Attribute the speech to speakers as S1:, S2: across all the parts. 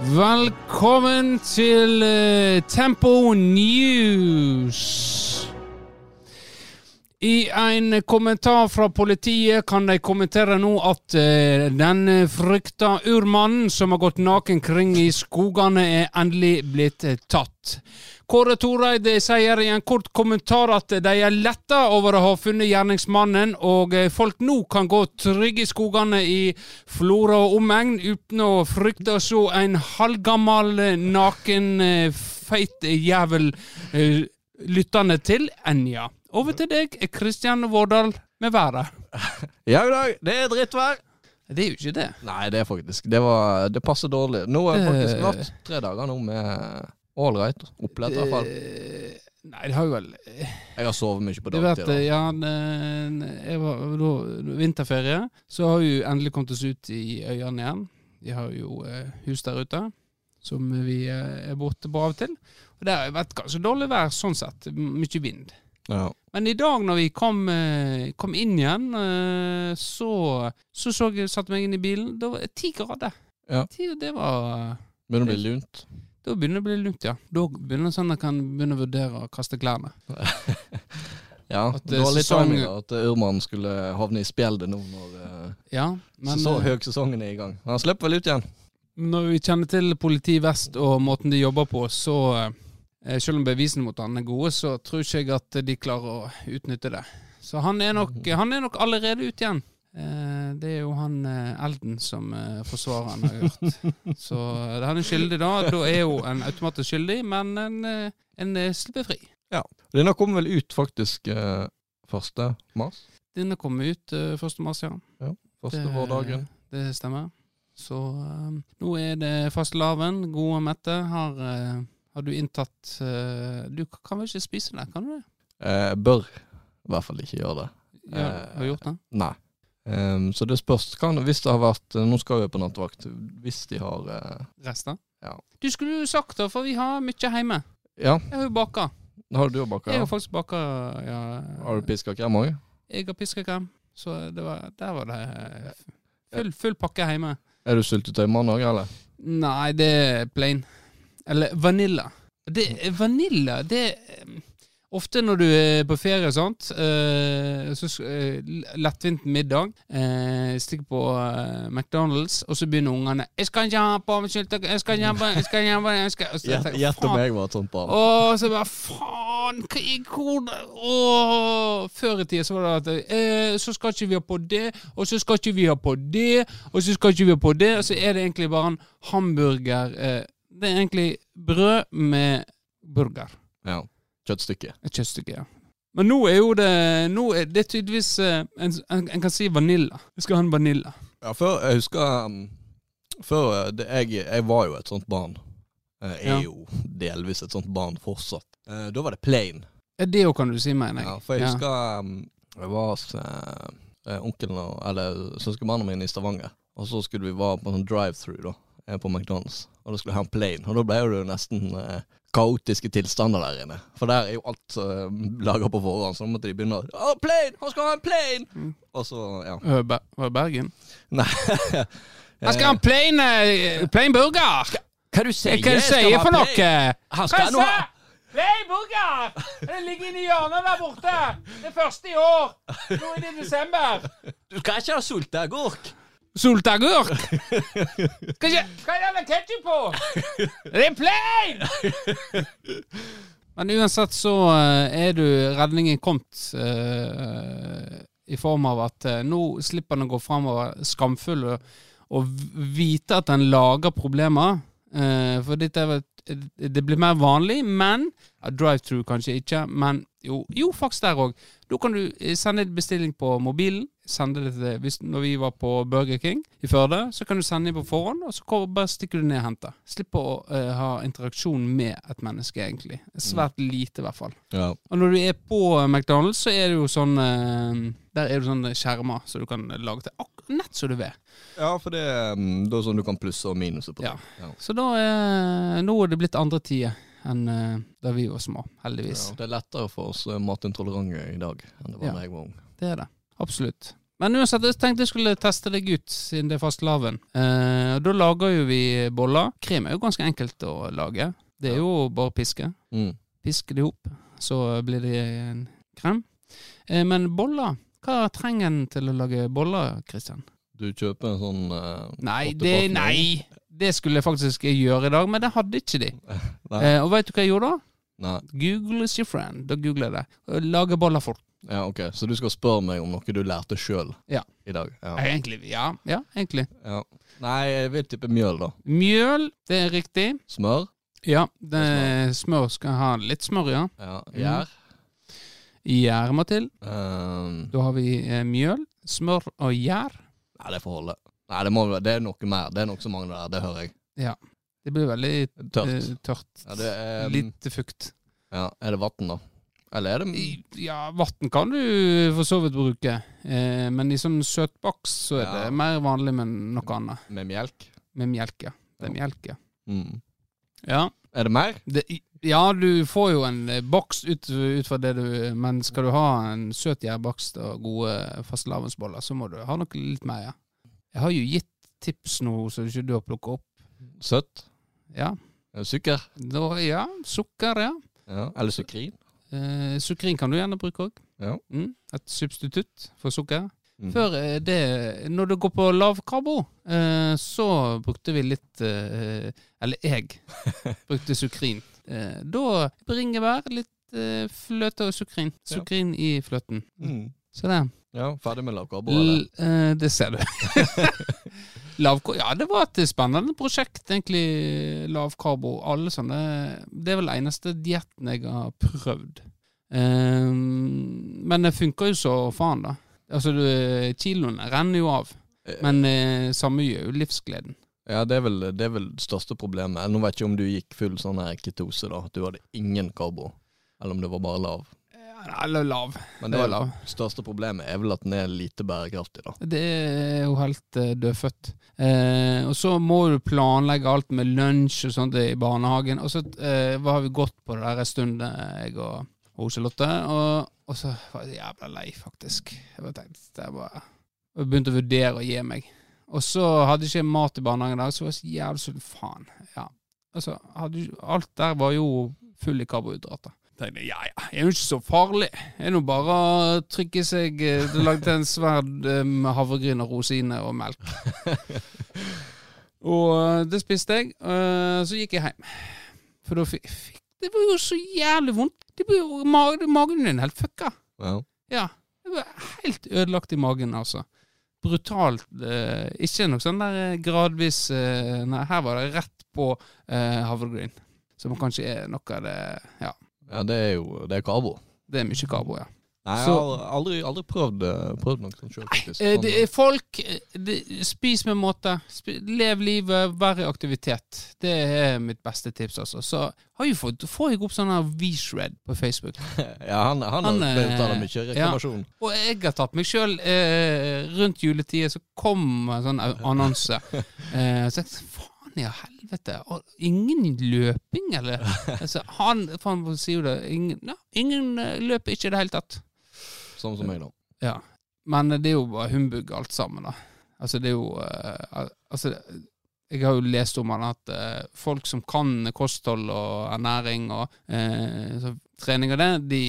S1: Velkommen til eh, Tempo News. I en kommentar fra politiet kan de kommentere nå at eh, den frykta urmannen som har gått naken kring i skogene, er endelig blitt eh, tatt. Kåre Toreide sier i en kort kommentar at de er letta over å ha funnet gjerningsmannen, og eh, folk nå kan gå trygge i skogene i Flora og omegn uten å frykte å se en halvgammal, eh, naken, eh, feit jævel eh, lyttende til Enja. Over til deg, Kristian Vårdal, med været.
S2: Ja, god dag. Det er drittvær.
S1: Det er jo ikke det.
S2: Nei, det er faktisk Det, var, det passer dårlig. Nå har det
S1: Eh.
S2: faktisk vært tre dager nå med all right opplegg, i hvert fall.
S1: Eh, Nei, det har jo vel
S2: Jeg har sovet mye på
S1: Du vet,
S2: dagtid.
S1: ja, n- n- jeg var da vinterferie, så har vi jo endelig kommet oss ut i øyene igjen. Vi har jo eh, hus der ute, som vi eh, er borte på av og til. Og det har jo vært ganske dårlig vær sånn sett, m- mye vind.
S2: Ja.
S1: Men i dag når vi kom, eh, kom inn igjen, eh, så så, så jeg satte meg inn i bilen. Da var det ti grader.
S2: Ja.
S1: Ti, det var
S2: Men det blir lunt.
S1: Da begynner det å bli lunt, ja. Da begynner det sånn at jeg kan begynne å vurdere å kaste klærne.
S2: Ja,
S1: At,
S2: det
S1: eh,
S2: var litt
S1: sesong-
S2: timing da, at eh, Urmannen skulle havne i spjeldet nå når eh,
S1: Ja, men eh,
S2: så høgsesongen er i gang. Men han slipper vel ut igjen.
S1: Når vi kjenner til Politi Vest og måten de jobber på, så eh, Selv om bevisene mot han er gode, så tror ikke jeg at de klarer å utnytte det. Så han er nok, han er nok allerede ute igjen. Eh, det er jo han eh, Elden som eh, forsvareren har gjort. Så eh, han er skyldig da. Da er jo en automatisk skyldig, men en, eh, en eh, slipper fri.
S2: Denne kom vel ut faktisk eh, 1. mars?
S1: Denne kommer ut eh, 1. mars, ja.
S2: Første vårdagen.
S1: Det stemmer. Så eh, nå er det fastelavn. Gode Mette, har, eh, har du inntatt eh, Du k- kan vel ikke spise det, kan du det?
S2: Eh, bør i hvert fall ikke gjøre det.
S1: Ja,
S2: Eh,
S1: har du gjort det?
S2: Nei. Ehm, så det spørs kan, hvis det har vært Nå skal vi på nattevakt. Hvis de har eh,
S1: Resten?
S2: Ja.
S1: Du skulle jo sagt det, for vi har mye hjemme.
S2: Ja,
S1: Jeg har jo baka.
S2: har du baka?
S1: Jeg
S2: Ja.
S1: har faktisk baka ja,
S2: Har du piska krem òg?
S1: Jeg har piskekrem. Så det var, der var det eh, full, full pakke hjemme.
S2: Er du syltetøymann òg, eller?
S1: Nei, det er plain. Eller vanilla. Det, vanilla, det eh, Ofte når du er på ferie, sant, eh, så sk- eh, lettvint middag, eh, stikker på eh, McDonald's, og så begynner ungene 'Jeg skal ikke ha på meg syltetøy, jeg skal ikke ha på jeg skal ikke ha på jeg skal, og så tenker jeg,
S2: Gjett om
S1: faen.
S2: jeg var et sånt barn.
S1: Og så bare faen, hva i hvordan Åh, Før i tida så var det at eh, så skal ikke vi ha på det, og så skal ikke vi ha på det, og så skal ikke vi ha på det. Og så er det egentlig bare en hamburger eh, Det er egentlig brød med burger.
S2: Ja. Kjøttstykke.
S1: Et kjøttstykke. ja. Men nå er jo det Nå er det tydeligvis eh, en, en, en kan si vanilla. Vi skal ha en vanilla.
S2: Ja, før Jeg husker ehm, Før eh, det, jeg, jeg var jo et sånt barn. Eh, Jeg er
S1: Ja.
S2: jo delvis et sånt barn fortsatt. Eh, da var det plain.
S1: Ja, det òg kan du si, mener jeg.
S2: Ja, for jeg husker um, jeg var hos eh, onkelen og eller søskenbarna mine i Stavanger. Og så skulle vi være på en sånn drive-through da, eh, på McDonald's. Og da skulle jeg ha en plane. Og da ble det jo nesten eh, kaotiske tilstander der inne. For der er jo alt uh, laga på forhånd, så da måtte de begynne å Å, plane! Han skal ha en plane!
S1: Mm.
S2: Og så, ja.
S1: Ø, Ber- Ø, Bergen.
S2: Eh. Nei.
S1: Jeg skal ha en plain, eh, plain burger! Eh,
S2: Hva du sier?
S1: Hva sier jeg for noe?
S2: Han skal nå ha
S1: Play burger! Den ligger inni hjørnet der borte. Det første i år. Nå er det desember.
S2: Du skal ikke ha sulteagurk!
S1: Sulteagurk? Skal ikke Hva er det med ketsjup på? Det er plain! Men uansett så eh, er du redningen kommet eh, i form av at eh, nå slipper han å gå framover skamfull og, og v- vite at han lager problemer. Eh, for dette er vel eh, det blir mer vanlig, men ja, Drive-through kanskje ikke, men jo, jo faktisk der òg. Da kan du eh, sende en bestilling på mobilen. Sende det til, hvis, når vi var på Burger King i Førde, så kan du sende den på forhånd, og så kommer- bare stikker du ned og henter. Slipp å eh, ha interaksjon med et menneske, egentlig. Svært lite, i hvert fall.
S2: Ja.
S1: Og når du er på eh, McDonald's, så er det jo sånn eh, Der er det sånne skjermer som så du kan lage til akkurat nett som du vil.
S2: ja, for det um, da er sånn du kan plusse og minuse på.
S1: Ja.
S2: ting. ja.
S1: Så da er, nå er det blitt andre tider enn eh, da vi var små, heldigvis.
S2: Ja, det er lettere for oss eh, matintolerante i dag enn det var
S1: Ja.
S2: da jeg var ung.
S1: Det er det. Absolutt. Men uansett, jeg tenkte jeg skulle teste deg ut, siden det er fastelavn. Eh, og da lager jo vi boller. Krem er jo ganske enkelt å lage. Det er jo bare å piske.
S2: Mm.
S1: Piske det i hop, så blir det en krem. Eh, men boller Hva trenger en til å lage boller, Kristian?
S2: Du kjøper en sånn eh,
S1: Nei,
S2: åtte
S1: det,
S2: pakker.
S1: nei, det skulle jeg faktisk gjøre i dag, men det hadde ikke de.
S2: Nei.
S1: Eh, og vet du hva jeg gjorde da?
S2: Nei.
S1: Google is your friend. Da googler jeg det. Lage boller fort.
S2: Ja, ok. Så du skal spørre meg om noe du lærte sjøl
S1: Ja.
S2: i dag? Ja.
S1: Egentlig, ja, ja, egentlig.
S2: ja. Nei, jeg vil tippe mjøl, da.
S1: Mjøl, det er riktig.
S2: Smør.
S1: Ja, det er smør skal ha litt smør, ja.
S2: Ja.
S1: Mm.
S2: Gjær.
S1: Gjær må til.
S2: Ehm,
S1: Da har vi eh, mjøl, smør og gjær.
S2: nei, det får holde. Nei, det, må, vel- det er noe mer. Det er noe som mangler der. Det hører jeg.
S1: Det blir veldig eh,
S2: Tørt.
S1: tørt.
S2: Ja, det er, um, ehm,
S1: Lite fukt.
S2: ja, er det vann, da? Eller er det
S1: I- Ja, vann kan du for så vidt bruke, eh, men i sånn søtbaks så er
S2: Ja.
S1: det mer vanlig med noe annet.
S2: med melk?
S1: Med melk, ja. Det er melk, ja.
S2: Mm.
S1: Ja,
S2: Er det mer?
S1: det, ja du får jo en eh, boks ut, ut fra det du Men skal du ha en søt gjærbakst og gode fastelavnsboller, så må du ha noe litt mer, ja. Jeg har jo gitt tips nå som ikke du har plukka opp.
S2: Søtt?
S1: Ja.
S2: Er det Sukker?
S1: Da, ja, sukker, ja.
S2: Ja. Eller sukrin?
S1: Eh, sukrin kan du gjerne bruke òg.
S2: Ja.
S1: Mm, et substitutt for sukker.
S2: Mm.
S1: Før eh, det, når det går på lavkarbo, eh, så brukte vi litt eh, Eller jeg brukte sukrin. Eh, da bringebær, litt eh, fløte og sukrin.
S2: Ja.
S1: Sukrin i fløten.
S2: Mm.
S1: Se der.
S2: Ja, ferdig med lavkarbo, eller?
S1: L, eh, det ser du. Lavkarbo Ja, det var et spennende prosjekt, egentlig. Lavkarbo. Alle sånne Det er vel eneste dietten jeg har prøvd. Eh, men det funker jo så faen, da. Altså, du, kiloene renner jo av.
S2: Eh,
S1: Men eh, samme gjør jo livsgleden.
S2: Ja, det er vel det er vel det største problemet. Nå vet jeg ikke om du gikk full sånn her ketose, da. At du hadde ingen karbo. Eller om det var bare lav.
S1: Ja, Eller lav.
S2: Men
S1: Det
S2: det
S1: var
S2: er
S1: lav.
S2: største problemet er vel at den er lite bærekraftig, da.
S1: Det er jo helt eh, dødfødt. Eh, og så må du planlegge alt med lunsj og sånt i barnehagen. Og så eh, har vi gått på det der en stund, eh, jeg og og Charlotte. Og, og så var jeg jævla lei, faktisk. Jeg bare tenkte jeg bare jeg begynte å vurdere å gi meg. Og så hadde ikke jeg mat i barnehagen i dag, så var jeg så jævlig sulten. Faen. Ja. Altså, hadde, jo- alt der var jo full i karbohydrater. Tenkte, jeg, ja, ja, jeg er jo ikke så farlig. Det er nå bare å trykke seg eh, Det lagde en sverd eh, med havregryn og rosiner og melk. Og eh, det spiste jeg. eh, Så gikk jeg hjem. For da fikk Det var jo så jævlig vondt. Det ble jo ma- Magen din er helt fucka.
S2: Ja.
S1: Ja. Jeg var helt ødelagt i magen, altså. Brutalt. eh, ikke noe sånn der eh, gradvis eh, Nei, her var det rett på eh, havregryn. Som kanskje er noe av det Ja,
S2: ja, det er jo Det er karbo.
S1: det er mye karbo, ja.
S2: Nei, jeg
S1: Så-
S2: har aldri, aldri prøvd, eh, prøvd noe sånt sjøl, faktisk.
S1: Eh, det er folk eh, det- Spis med måte. Spi- lev livet, vær i aktivitet. Det er mitt beste tips, altså. Så har jeg fått, får jeg opp sånn her V-shred på Facebook.
S2: Sånn, eh, Ja, han, han,
S1: Han,
S2: har blitt av det mye
S1: eh, ja.
S2: reklamasjon.
S1: Og jeg har tatt meg sjøl eh, rundt juletider, så kom en sånn annonse. Eh, så jeg tenkte, faen i helvete, og ingen løping, eller? Altså, han faen, hva sier jo det. Ingen, ja, ingen eh, løper ikke i det hele tatt.
S2: Sånn som meg, da.
S1: Ja. Men det er jo bare humbug alt sammen, da. Altså, det er jo eh, al- Altså, jeg har jo lest om han at eh, folk som kan kosthold og ernæring og eh, så trening og det, de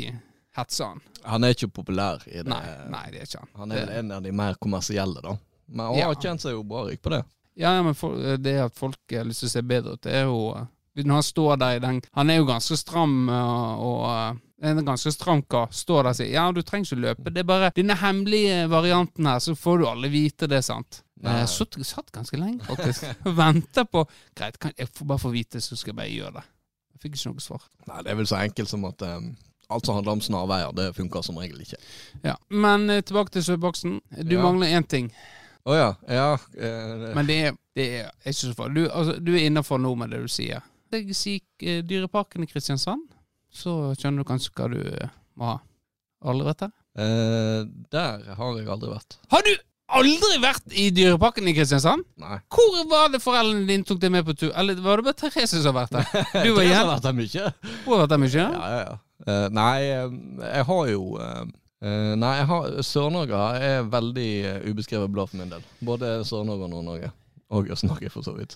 S1: hetser han.
S2: Han er ikke populær i det.
S1: Nei, nei, det er ikke han.
S2: Han er
S1: det,
S2: vel en av de mer kommersielle, da. Men han
S1: Ja.
S2: har tjent seg jo bra rik på det.
S1: Ja, ja, men for, eh, det at folk har lyst til å se bedre ut, det er jo Når han står der i den Han er jo ganske stram eh, og eh, en ganske stram kar står der og sier ja, du trenger ikke løpe, det er bare denne hemmelige varianten her, så får du alle vite det, sant.
S2: Nei.
S1: Eh, satt, satt ganske lenge faktisk og venta på Greit, kan jeg får bare få vite, så skal jeg bare gjøre det. Jeg fikk ikke noe svar.
S2: Nei, det er vel så enkelt som at eh, alt som handler om snarveier, det funker som regel ikke.
S1: Ja. Men eh, tilbake til søtboksen. Du
S2: Ja.
S1: mangler én ting,
S2: Å ja. Ja. eh,
S1: men det er, det er ikke så farlig. Du, altså, du er innafor nå med det du sier. Jeg sier eh, Dyreparken i Kristiansand, så skjønner du kanskje hva du eh, må ha. Aldri vært der?
S2: eh, der har jeg aldri vært.
S1: Har du aldri vært i Dyreparken i Kristiansand?
S2: Nei.
S1: Hvor var det foreldrene dine tok deg med på tur? Eller var det bare Therese som har vært der? Du var
S2: Jeg har
S1: hjemme.
S2: vært der mye.
S1: Hun har vært der mye?
S2: Ja, ja, ja. Eh, nei, eh, jeg har jo eh, Eh, nei, jeg har- Sør-Norge er veldig eh, ubeskrevet blad for min del. Både Sør-Norge og Nord-Norge. Og Øst-Norge, for så vidt.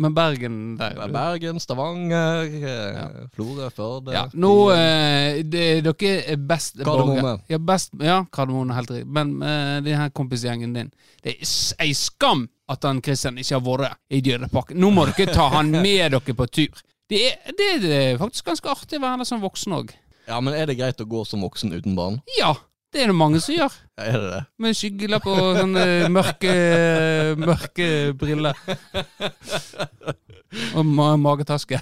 S1: Men Bergen der
S2: Det er Bergen, Stavanger, eh, Florø, Førde
S1: ja. Nå eh, det, Dere er best
S2: Kardemomme.
S1: borger- Ja, best, ja Kardemomme, helt riktig. Men eh, den her kompisgjengen din Det er s- ei skam at han Christian ikke har vært i Dyreparken. Nå må dere ta han med dere på tur. Det er, det er faktisk ganske artig å være der som voksen òg.
S2: Ja, men er det greit å gå som voksen uten barn?
S1: Ja, det er det mange som gjør.
S2: Ja, Er det det?
S1: Med skyggelapp og sånne mørke, mørke briller. Og ma magetaske.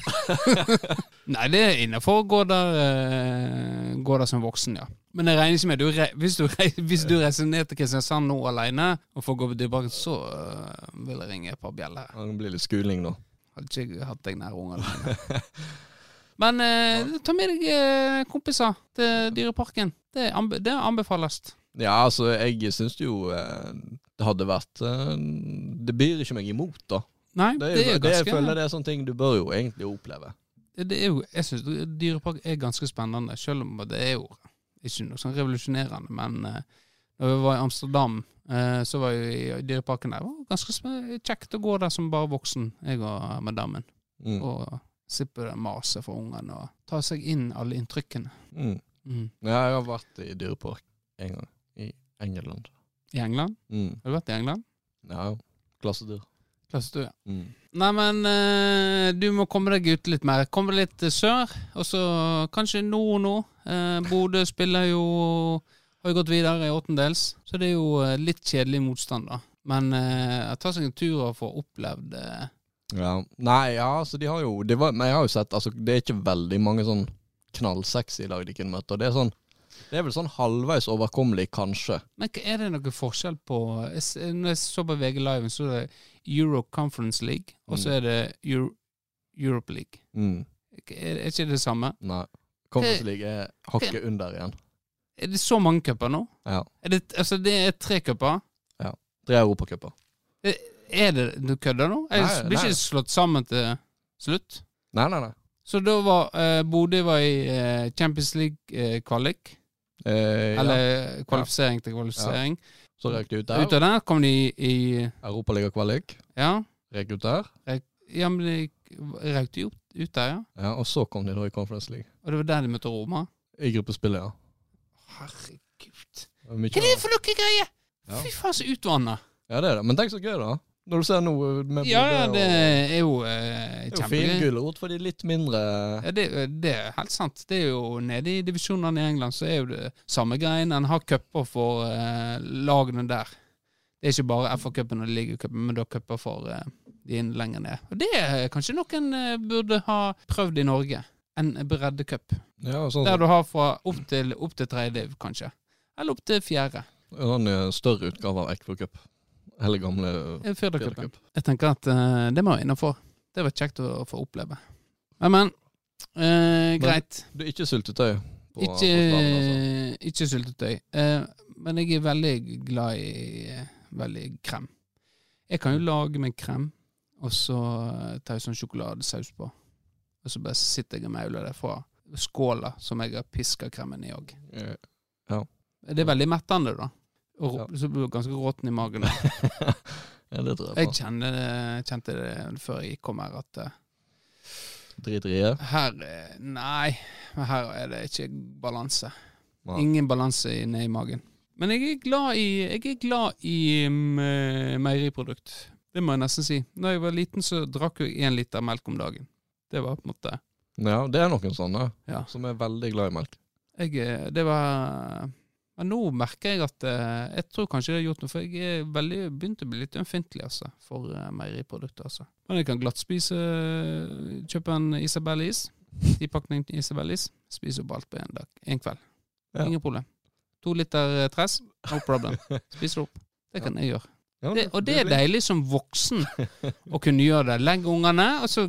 S1: Nei, det er innafor å gå der, eh, gå der som voksen, ja. Men jeg regner ikke med du re hvis, du re hvis du reiser ned til Kristiansand nå alene og får gå på Dyreparken, så eh, vil jeg ringe et par bjeller.
S2: Ja, Det blir litt skuling nå.
S1: Hadde ikke hatt deg nær ungene mine. Men eh, ta med deg eh, kompiser til Dyreparken. Det, anbe det anbefales.
S2: Ja, altså, jeg syns jo eh, det hadde vært eh, Det byr ikke meg imot, da.
S1: Nei,
S2: Det er, jo, det, jeg
S1: ganske
S2: føler det er sånne ting du bør jo egentlig oppleve.
S1: det er jo, jeg syns dyrepark er ganske spennende, selv om det er jo ikke noe sånn revolusjonerende. Men eh, når vi var i Amsterdam, eh, så var vi i dyreparken der. Det var ganske sp- kjekt å gå der som bare voksen, jeg og madammen.
S2: Mm.
S1: Og sippe det maset fra ungene og ta seg inn alle inntrykkene
S2: Mm.
S1: mm.
S2: Ja, jeg har vært i dyrepark en gang. I England.
S1: i England.
S2: Mm.
S1: Har du vært i England?
S2: Ja, klassedyr.
S1: Klassetur, ja.
S2: Mm.
S1: Nei, men eh, du må komme deg ut litt mer. Komme deg litt eh, sør, og så kanskje nord nå. Eh, Bodø spiller jo Har jo gått videre i åttendels, så det er jo eh, litt kjedelig motstand, da. Men eh, ta seg en tur og få opplevd eh,
S2: Ja. Nei, ja, så de har jo det var, Men jeg har jo sett altså, Det er ikke veldig mange sånn knallsexy lag de kunne møtt. Og det er sånn Det er vel sånn halvveis overkommelig, kanskje.
S1: Men hva- er det noen forskjell på jeg, s- Når jeg så på VG Live, så er det Euro Conference League, og så er det Euro, Europe League.
S2: Mm.
S1: Er, er ikke det samme?
S2: Nei. Conference League er hakket under igjen.
S1: Er det så mange cuper nå?
S2: Ja.
S1: Er det, altså, det er tre cuper.
S2: Tre europacuper.
S1: Er det Du kødder nå? Jeg
S2: Nei,
S1: blir
S2: nei.
S1: ikke slått sammen til slutt.
S2: Nei, nei, nei.
S1: Så da var eh, Bodø var i eh, Champions League-kvalik.
S2: Eh, ja.
S1: Eller kvalifisering til kvalifisering.
S2: Så røk de ut
S1: Ut
S2: der.
S1: av den kom de i
S2: Europaligakvalik.
S1: Ja,
S2: Røk ut der.
S1: ja men de røk de ut, ut der, ja.
S2: Ja, og så kom de da i Conference League.
S1: Og det var der de møtte Roma.
S2: I gruppespillet, ja.
S1: Herregud.
S2: Det var mye-
S1: Hva er det for noe greier?
S2: Ja.
S1: Fy faen, så utvanna.
S2: Ja, det er det. Men tenk så gøy, da. Når du ser noe med
S1: Ja, ja,
S2: Bodø
S1: det
S2: og-
S1: er jo eh,
S2: Det er jo fin
S1: kjempegøy.
S2: gulrot for de litt mindre
S1: Ja, det, det er helt sant. Det er jo Nede i divisjonene i England så er jo det samme greien. En har cuper for eh, lagene der. Det er ikke bare FA-cupen og ligacupen, men da cuper for eh, de inn- lenger ned. Og Det er kanskje noen eh, burde ha prøvd i Norge. En breddecup.
S2: Ja, og sånn,
S1: Der du har fra opp til, opp til tredje div, kanskje. Eller opp til fjerde.
S2: sånn eh, større utgave av Eckford Cup. Eller gamle
S1: Eh,
S2: Fjerde
S1: Firdacupen.
S2: cup.
S1: Jeg tenker at eh, det må jeg innafor. Det var kjekt å få oppleve. Men, men. Eh, greit.
S2: Du er ikke syltetøy på på
S1: Ikke,
S2: stranden, altså.
S1: ikke syltetøy. Eh, men jeg er veldig glad i eh, veldig krem. Jeg
S2: Mm.
S1: kan jo lage meg krem, og så eh, tar jeg sånn sjokoladesaus på. Og så bare sitter jeg og mauler det fra skåla som jeg har piska kremen i òg.
S2: Eh,
S1: Det
S2: Mm.
S1: er veldig mettende, da. Og rå- så blir du ganske råten i magen.
S2: Ja, det tror jeg
S1: Jeg
S2: på.
S1: kjenner det, kjente det før jeg kom her, at eh,
S2: Drit i det.
S1: her eh, Nei, men her er det ikke balanse.
S2: Nei.
S1: Ingen balanse i- ned i magen. Men jeg er glad i, jeg er glad i mm, eh, meieriprodukt. Det må jeg nesten si. Da jeg var liten, så drakk jeg én liter melk om dagen. Det var på en måte
S2: Ja, det er noen sånne
S1: Ja.
S2: som er veldig glad i melk.
S1: jeg, eh, Det var Men nå merker jeg at eh, Jeg tror kanskje det har gjort noe, for jeg er veldig, begynt å bli litt ømfintlig altså, for eh, meieriprodukter. Altså. Men jeg kan glatt spise eh, Kjøpe en Isabellis. Tipakning til Isabellis. Spiser opp alt på én dag. En kveld.
S2: Ja.
S1: Ingen problem. To liter eh, tress, no problem. Spiser det opp. Det kan jeg gjøre.
S2: Ja,
S1: Det, og det er
S2: blir-
S1: deilig som voksen å kunne gjøre det. Legg ungene, og så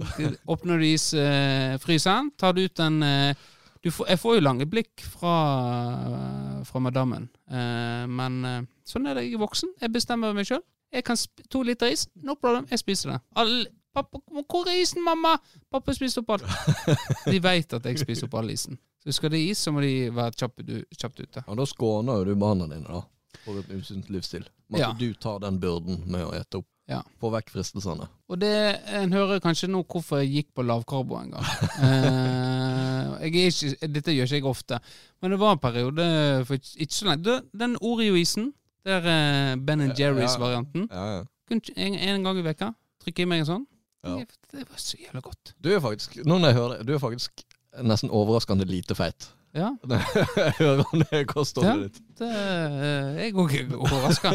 S1: åpner du isfryseren, tar du ut en eh, du får, Jeg får jo lange blikk fra, fra madammen, Eh, men eh, sånn er det. Jeg er voksen. Jeg bestemmer meg sjøl. Jeg kan sp to liter is. No problem. Jeg spiser det. All, Pappa, kom- 'Hvor er isen, mamma?' Pappa spiser opp alt. De veit at jeg spiser opp all isen. Så skal det is, så må de være kjapt, u- kjapt ute.
S2: Ja, da skåner jo du barna dine, da. For et usunt livsstil. Men
S1: Ja.
S2: at du tar den byrden med å ete opp.
S1: Ja.
S2: Få vekk fristelsene.
S1: Og det, en hører kanskje nå hvorfor jeg gikk på lavkarbo en gang. Eh, jeg er ikke, dette gjør ikke jeg ofte, men det var en periode for ikke ikke så lenge. Du, Den Oreo-isen, der eh, Ben Jerry's-varianten,
S2: Ja, ja.
S1: kun en, en gang i veka trykke i meg en sånn.
S2: Ja.
S1: Det, det var så jævla godt.
S2: Du er faktisk, nå når jeg hører det, du er faktisk nesten overraskende lite feit.
S1: Ja,
S2: Jeg hører om det kostholdet
S1: Ja.
S2: ditt.
S1: det, eh, jeg òg er overraska.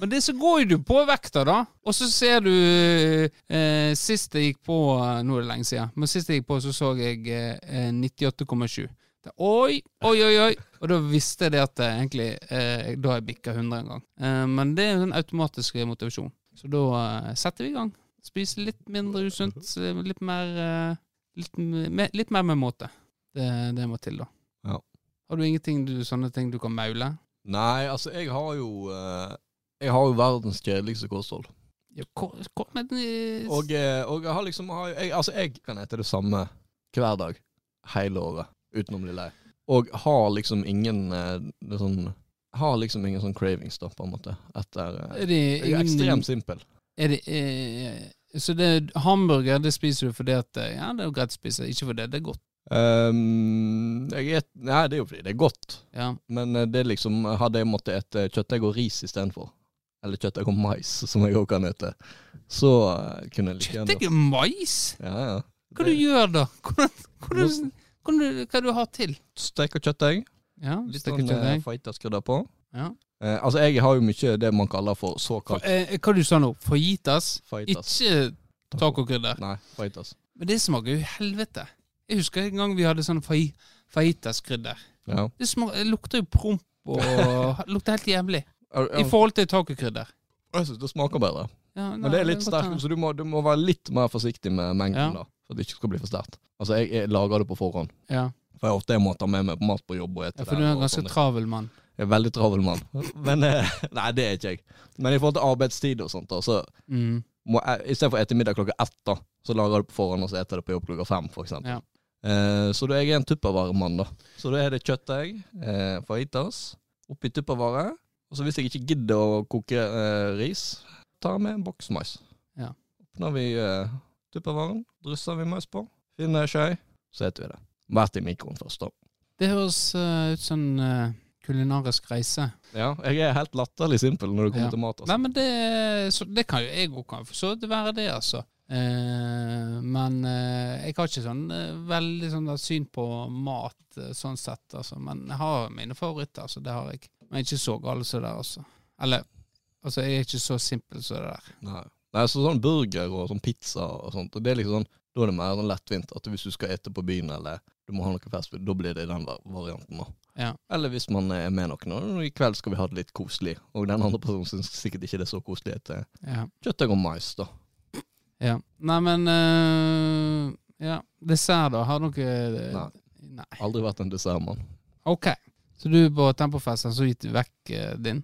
S1: Men det så går jo du på vekta, da. Og så ser du eh, Sist jeg gikk på eh, Nå er det lenge siden, men sist jeg gikk på, så så jeg eh, eh, 98,7. Da- Oi, oi, oi, oi. Og da visste jeg det at eh, egentlig eh, Da har jeg bikka 100 en gang. Eh, men det er jo den automatiske motivasjonen. Så da eh, setter vi i gang. Spise litt mindre usunt. eh, Litt mer eh, litt, med, litt mer med måte. Det, det må til, da.
S2: Ja.
S1: Har du ingenting du, sånne ting du kan maule?
S2: Nei, altså, jeg har jo eh, Jeg har jo verdens kjedeligste kosthold.
S1: Ja, hvor, hvor, men, eh,
S2: Og, eh, og jeg har liksom har, jeg, Altså, jeg kan ete det samme hver dag hele året uten å bli lei. Og har liksom ingen eh, det er sånn Har liksom ingen sånn cravings, da, på en måte. Etter eh,
S1: er det
S2: Jeg er
S1: ingen,
S2: ekstremt simpel.
S1: er det, eh, Så det, hamburger det spiser du fordi at eh, Ja, det er jo greit å spise, ikke fordi det er godt.
S2: Ehm, jeg et, nei, det er jo fordi det er godt,
S1: Ja.
S2: men eh, det er liksom Hadde jeg måttet ete kjøttdeig og ris istedenfor, eller kjøttdeig og mais, som jeg òg kan ete, så eh, kunne jeg like gjerne
S1: Kjøttdeig og mais?
S2: ja, ja.
S1: Hva du gjør da? Hvordan, hvordan, hvordan, hva du har til?
S2: Steik og kjøttdeig.
S1: Ja,
S2: Litt
S1: steker
S2: sånn eh,
S1: kjøttdeig.
S2: fajta skrudder på.
S1: Ja.
S2: Eh, altså, jeg har jo mye det man kaller for
S1: For,
S2: såkalt
S1: eh, hva du sa nå? Fajitas?
S2: fajitas.
S1: Ikke tacokrydder?
S2: Nei, fajitas.
S1: Men det smaker jo helvete. Jeg husker en gang vi hadde sånn faj, fajitaskrydder.
S2: Ja.
S1: Det smak, det lukter jo promp og lukter helt jævlig. I
S2: Jeg,
S1: forhold til tacokrydder.
S2: jeg syns det smaker bedre,
S1: Ja, nei,
S2: men det er litt
S1: kan godt
S2: sterkt,
S1: hende.
S2: så du må, du må være litt mer forsiktig med
S1: Ja.
S2: mengden, da. For at det ikke skal bli for sterkt. Altså, jeg, jeg lager det på forhånd.
S1: Ja.
S2: For jeg ofte jeg må ta med meg mat på jobb og
S1: ja,
S2: ete
S1: for du er en
S2: og
S1: ganske
S2: sånne-
S1: travel mann.
S2: Jeg er veldig travel mann. Men eh, Nei, det er ikke jeg. Men i forhold til arbeidstid og sånt, da, så
S1: Mm.
S2: må jeg istedenfor å ete middag klokka ett, da, så lager jeg det på forhånd, og så eter jeg det på jobb klokka fem, for eksempel.
S1: Ja.
S2: Eh, så da er jeg en tuppervaremann, da. Så da er det kjøttdeig, eh, fajitas, oppi tuppervare. Og så hvis jeg ikke gidder å koke eh, ris, tar jeg med en boks mais.
S1: Ja.
S2: Åpner vi eh, tuppervaren, drysser vi mais på, finner skei, så eter vi det. Vært i mikroen først, da.
S1: Det høres eh, ut som en eh, kulinarisk reise.
S2: Ja, jeg er helt latterlig simpel når det kommer
S1: Ja.
S2: til mat.
S1: Nei,
S2: Altså.
S1: men det, så, det kan jo jeg òg for så vidt være det, altså. Eh, men eh, jeg har ikke sånn eh, veldig sånn der syn på mat eh, sånn sett, altså. Men jeg har mine favoritter, altså. Det har jeg. Men jeg er ikke så gal som det der, altså. Eller altså, jeg er ikke så simpel som det der.
S2: Nei. Nei, så sånn burger og sånn pizza og sånt, og det er liksom sånn, da er det mer sånn lettvint at hvis du skal ete på byen eller du må ha noe festfood, da blir det den var- varianten da.
S1: Ja.
S2: Eller hvis man er med noen, og i kveld skal vi ha det litt koselig, og den andre personen synes sikkert ikke det er så koselig å ete
S1: Ja.
S2: kjøttdeig og mais da.
S1: Ja. Nei, men eh, Ja, dessert, da. Har dere eh,
S2: Nei.
S1: Nei.
S2: Aldri vært en dessertmann.
S1: OK. Så du på Tempofesten så gitt du vekk eh, din?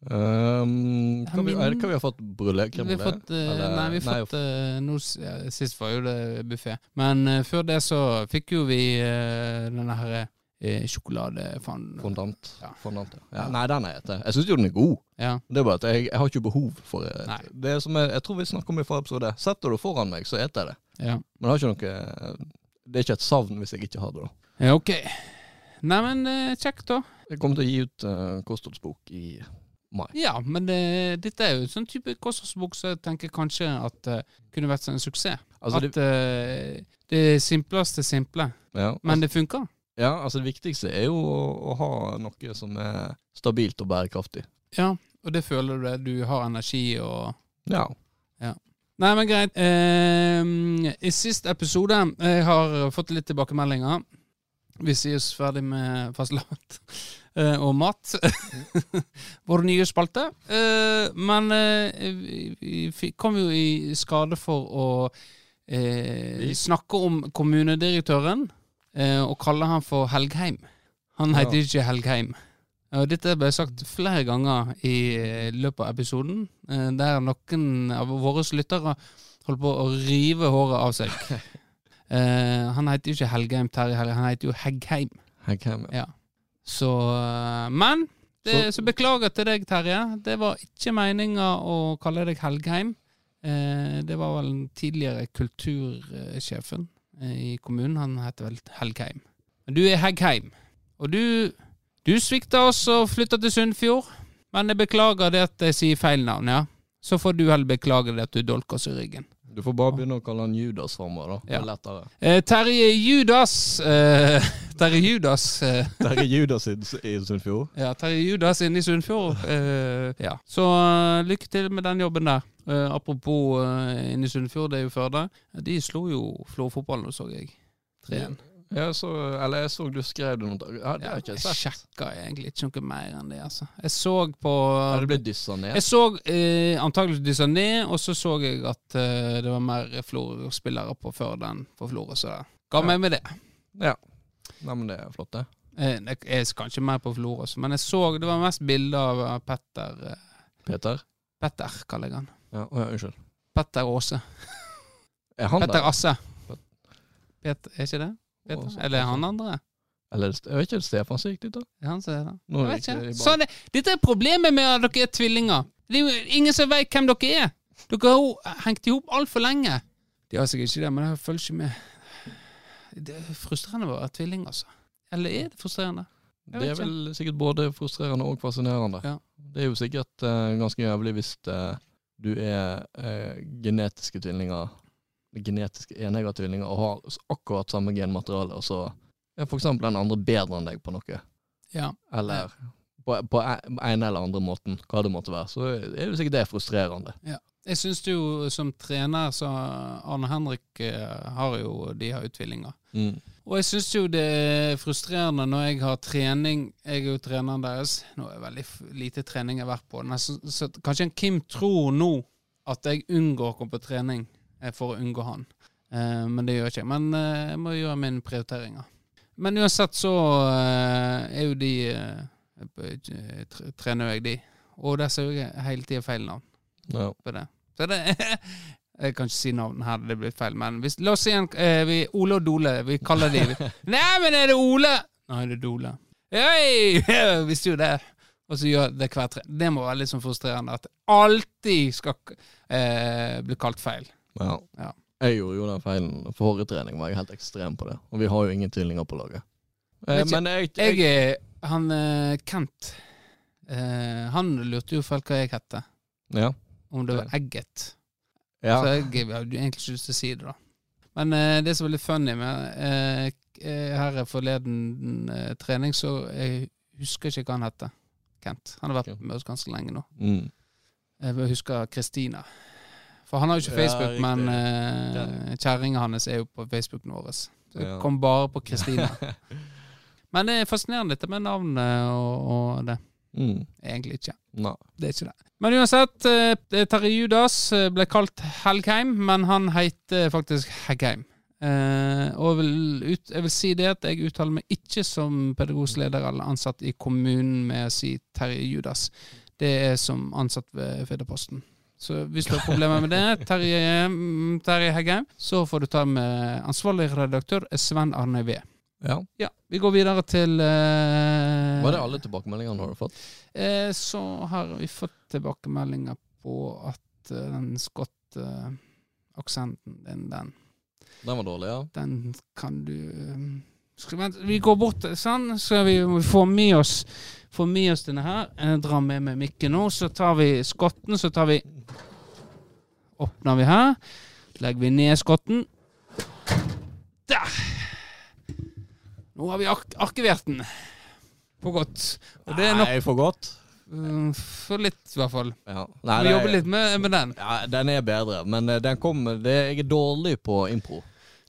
S2: Um, hva, vi, er det hva vi har fått? Brulé?
S1: Vi har
S2: Kremlé?
S1: fått, eh,
S2: Eller-
S1: nei, vi har
S2: nei,
S1: fått eh, nå s- ja, Sist var jo det buffé. Men eh, før det så fikk jo vi eh, denne her uh, sjokoladefanen.
S2: Fondant.
S1: Ja.
S2: Fondant, ja. ja. Nei, den er jeg ete. Jeg synes jo den er god.
S1: Ja.
S2: Det er bare at jeg, jeg har ikke behov for det.
S1: Nei.
S2: det er som jeg, jeg tror vi snakket om i forrige episode. Setter du det foran meg, så eter jeg det.
S1: ja.
S2: Men jeg har ikke noe Det er ikke et savn hvis jeg ikke har det. da
S1: ja, OK. Neimen, uh, kjekt, da.
S2: Jeg kommer til å gi ut eh, kostholdsbok i mai.
S1: Ja, men eh, dette er jo en sånn type kostholdsbok som jeg tenker kanskje at eh, kunne vært sånn en suksess.
S2: Altså, det,
S1: at eh, det simpleste simple.
S2: ja,
S1: Men
S2: altså,
S1: det funker.
S2: ja, altså det viktigste er jo å, å ha noe som er stabilt og bærekraftig.
S1: Ja, og det føler du det. Du har energi og
S2: Ja.
S1: Nei, men greit. Eh, I sist episode jeg har fått litt tilbakemeldinger. Vi sier oss ferdig med fastelavn eh, og mat. Vår nye spalte. Eh, men eh, vi- vi fikk- kom jo i skade for å eh,
S2: Vi?
S1: snakke om kommunedirektøren eh, og kalle han for Helgheim. Han heter jo ikke Helgheim. Og dette ble sagt flere ganger i eh, løpet av episoden, eh, der noen av våre lyttere har Holdt på å rive håret av seg. Eh, han heter jo ikke Helgheim Terje Helgheim, han heter jo Heggheim.
S2: Heggheim, ja.
S1: Så eh, Men det, så. beklager til deg, Terje. Det var ikke meninga å kalle deg Helgheim. Eh, det var vel den tidligere kultursjefen eh, i kommunen. Han heter vel Helgheim. Men du er Heggheim. Og du, du svikta oss og flytta til Sunnfjord. Men jeg beklager det at jeg sier feil navn, ja. Så får du heller beklage det at du dolker oss i ryggen.
S2: Du får bare begynne å kalle han Judas framover, da. Det
S1: Ja.
S2: er lettere.
S1: Eh, Terje Judas eh, Terje Judas eh,
S2: Der er Judas i, i Sunnfjord.
S1: Ja, Terje Judas inne i Sunnfjord. Eh, ja. Så eh, lykke til med den jobben der. Eh, apropos eh, inne i Sunnfjord, det er jo Førde. De slo jo Florfotballen, så jeg. 3-1.
S2: Jeg så, eller jeg så du skrev det noen dager. Ja, det har jeg
S1: jeg
S2: ikke sett.
S1: sjekka egentlig ikke noe mer enn det, altså. Jeg så på
S2: Ja, det ble dyssa ned.
S1: Jeg så eh, antakelig dyssa ned, og så så jeg at eh, det var mer Florø-spillere på Førde enn på Florø, så ga
S2: Ja.
S1: meg med det.
S2: Ja. Nei, men det er flott, det.
S1: Eh, Jeg jeg skal ikke mer på Florø, så- men jeg så det var mest bilder av eh, Petter eh,
S2: Peter?
S1: Petter, kaller jeg han.
S2: Ja, å, ja unnskyld.
S1: Petter Aase.
S2: Er han
S1: Petter
S2: der?
S1: Asse.
S2: Pet-
S1: Peter, er ikke det? Peter?
S2: Aase,
S1: Eller
S2: Aase.
S1: han andre?
S2: Eller jeg vet ikke, Stefan som gikk dit, da?
S1: Det er han som er det?
S2: Nå
S1: Jeg
S2: er
S1: vet
S2: det
S1: ikke.
S2: ikke-
S1: Sånn, er- dette er problemet med at dere er tvillinger. Det er jo ingen som vet hvem dere er. Dere har jo hengt i hop altfor lenge. De har sikkert ikke det, men jeg følger ikke med. Det er frustrerende å være tvilling, altså. Eller er det frustrerende? Jeg
S2: Det
S1: vet
S2: er vel sikkert både frustrerende og fascinerende.
S1: Ja.
S2: Det er jo sikkert eh, ganske jævlig hvis eh, du er eh, genetiske tvillinger, genetiske enegga tvillinger, og har s- akkurat samme genmateriale, og så er for eksempel den andre bedre enn deg på noe.
S1: Ja.
S2: Eller på, på en eller andre måten, hva det måtte være. Så er jo sikkert det frustrerende.
S1: Jeg syns jo som trener, så Arne Henrik eh, har jo De har jo tvillinger. Og jeg syns jo det er frustrerende når jeg har trening Jeg er jo treneren deres. Nå er det veldig f- lite trening jeg har vært på. Nesten, så kanskje en Kim tror nå at jeg unngår å komme på trening eh, for å unngå han. Eh, men det gjør jeg ikke. Men eh, jeg må gjøre mine prioriteringer. Men uansett så eh, er jo de eh, eh, tre- Trener jo jeg de. Og der ser jeg hele tida feil navn
S2: Ja.
S1: på det. Så det Jeg kan ikke si navn her, det blir feil, men hvis, la oss si en, eh, vi, Ole og Dole. Vi kaller de Nei, men er det Ole? Nei, det er Dole. Hei! Jeg visste jo det. Og så gjør det hver tre. Det må være litt sånn frustrerende at det alltid skal eh, bli kalt feil.
S2: Ja.
S1: Ja.
S2: Jeg gjorde jo den feilen forrige trening, var jeg helt ekstrem på det. Og vi har jo ingen tvillinger på laget. Eh,
S1: Vet ikke-
S2: men jeg, jeg,
S1: Jeg er han eh, Kent. Eh, han lurte jo folk hva jeg het.
S2: Ja.
S1: Om det var Egget.
S2: ja.
S1: Så jeg hadde jo egentlig ikke lyst til å si det, da. Men eh, det som er litt funny med eh, k- eh, Her er forleden eh, trening, så jeg husker ikke hva han heter. Kent. Han har vært
S2: Ok.
S1: med oss ganske lenge nå.
S2: Mm.
S1: Jeg bare husker Kristina. For han har jo ikke
S2: Ja,
S1: Facebook,
S2: riktig.
S1: men eh, kjerringa hans er jo på Facebooken vår. Så jeg
S2: Ja.
S1: kom bare på Kristina. men det er fascinerende dette med navnet og, og det.
S2: Mm.
S1: Egentlig ikke.
S2: Nei.
S1: Det er ikke det. Men uansett, eh, Terje Judas eh, ble kalt Helgheim, men han heter faktisk Heggheim. Eh, og jeg vil, ut, jeg vil si det at jeg uttaler meg ikke som pedagogisk leder eller ansatt i kommunen med å si Terje Judas. Det er som ansatt ved Fedreposten. Så hvis du har problemer med det, Terje, mm, Terje Heggheim, så får du ta med ansvarlig redaktør Sven Arne Ve.
S2: Ja.
S1: Ja, vi går videre til eh,
S2: Var det alle tilbakemeldingene har du fått?
S1: Eh, så har vi fått tilbakemeldinger på at eh, den skott-aksenten din, den,
S2: Den var dårlig, ja.
S1: den kan du eh, skal, vent, Vi går bort sånn, så vi må få med oss Få med oss denne her. Jeg drar med meg mikken nå, så tar vi skotten, så tar vi Åpner vi her. Legger vi ned skotten. Der! Nå har vi ark arkivert den. For godt. Og det er nok
S2: for godt.
S1: Mm, For litt, i hvert fall.
S2: Ja. Nei,
S1: Vi
S2: det-
S1: jobber litt med, med den.
S2: Ja, den er bedre, men eh, den kom, det, jeg er dårlig på impro.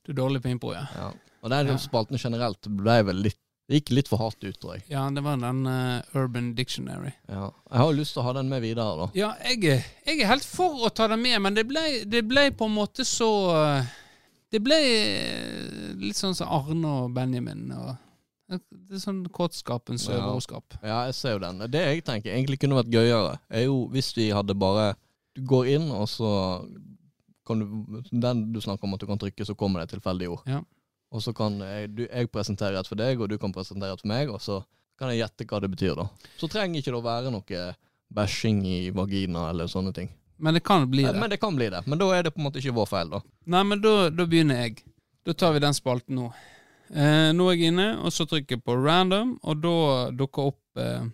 S1: Du er dårlig på impro, ja.
S2: Ja. Og den
S1: Ja.
S2: spalten generelt ble vel litt det gikk litt for hardt ut, tror jeg.
S1: Ja, det var den eh, Urban Dictionary.
S2: Ja. Jeg har jo lyst til å ha den med videre, da.
S1: Ja, jeg, er- jeg er helt for å ta den med, men det ble, det ble på en måte så eh, Det ble eh, litt sånn som Arne og Benjamin og det er Sånn kåtskapens
S2: Ja.
S1: overskap.
S2: Ja, jeg ser jo den. Det jeg tenker egentlig kunne vært gøyere, er jo hvis vi hadde bare Du går inn, og så kan du, den du snakker om at du kan trykke, så kommer det et tilfeldig ord.
S1: Ja.
S2: Og så kan jeg, du, jeg presentere et for deg, og du kan presentere et for meg, og så kan jeg gjette hva det betyr, da. Så trenger ikke det å være noe bæsjing i vagina eller sånne ting.
S1: Men det kan bli
S2: Eh,
S1: det.
S2: Men det kan bli det. Men da er det på en måte ikke vår feil, da.
S1: Nei, men da, da begynner jeg. Da tar vi den spalten nå. Eh, nå er jeg inne, og så trykker jeg på random, og da dukker opp eh,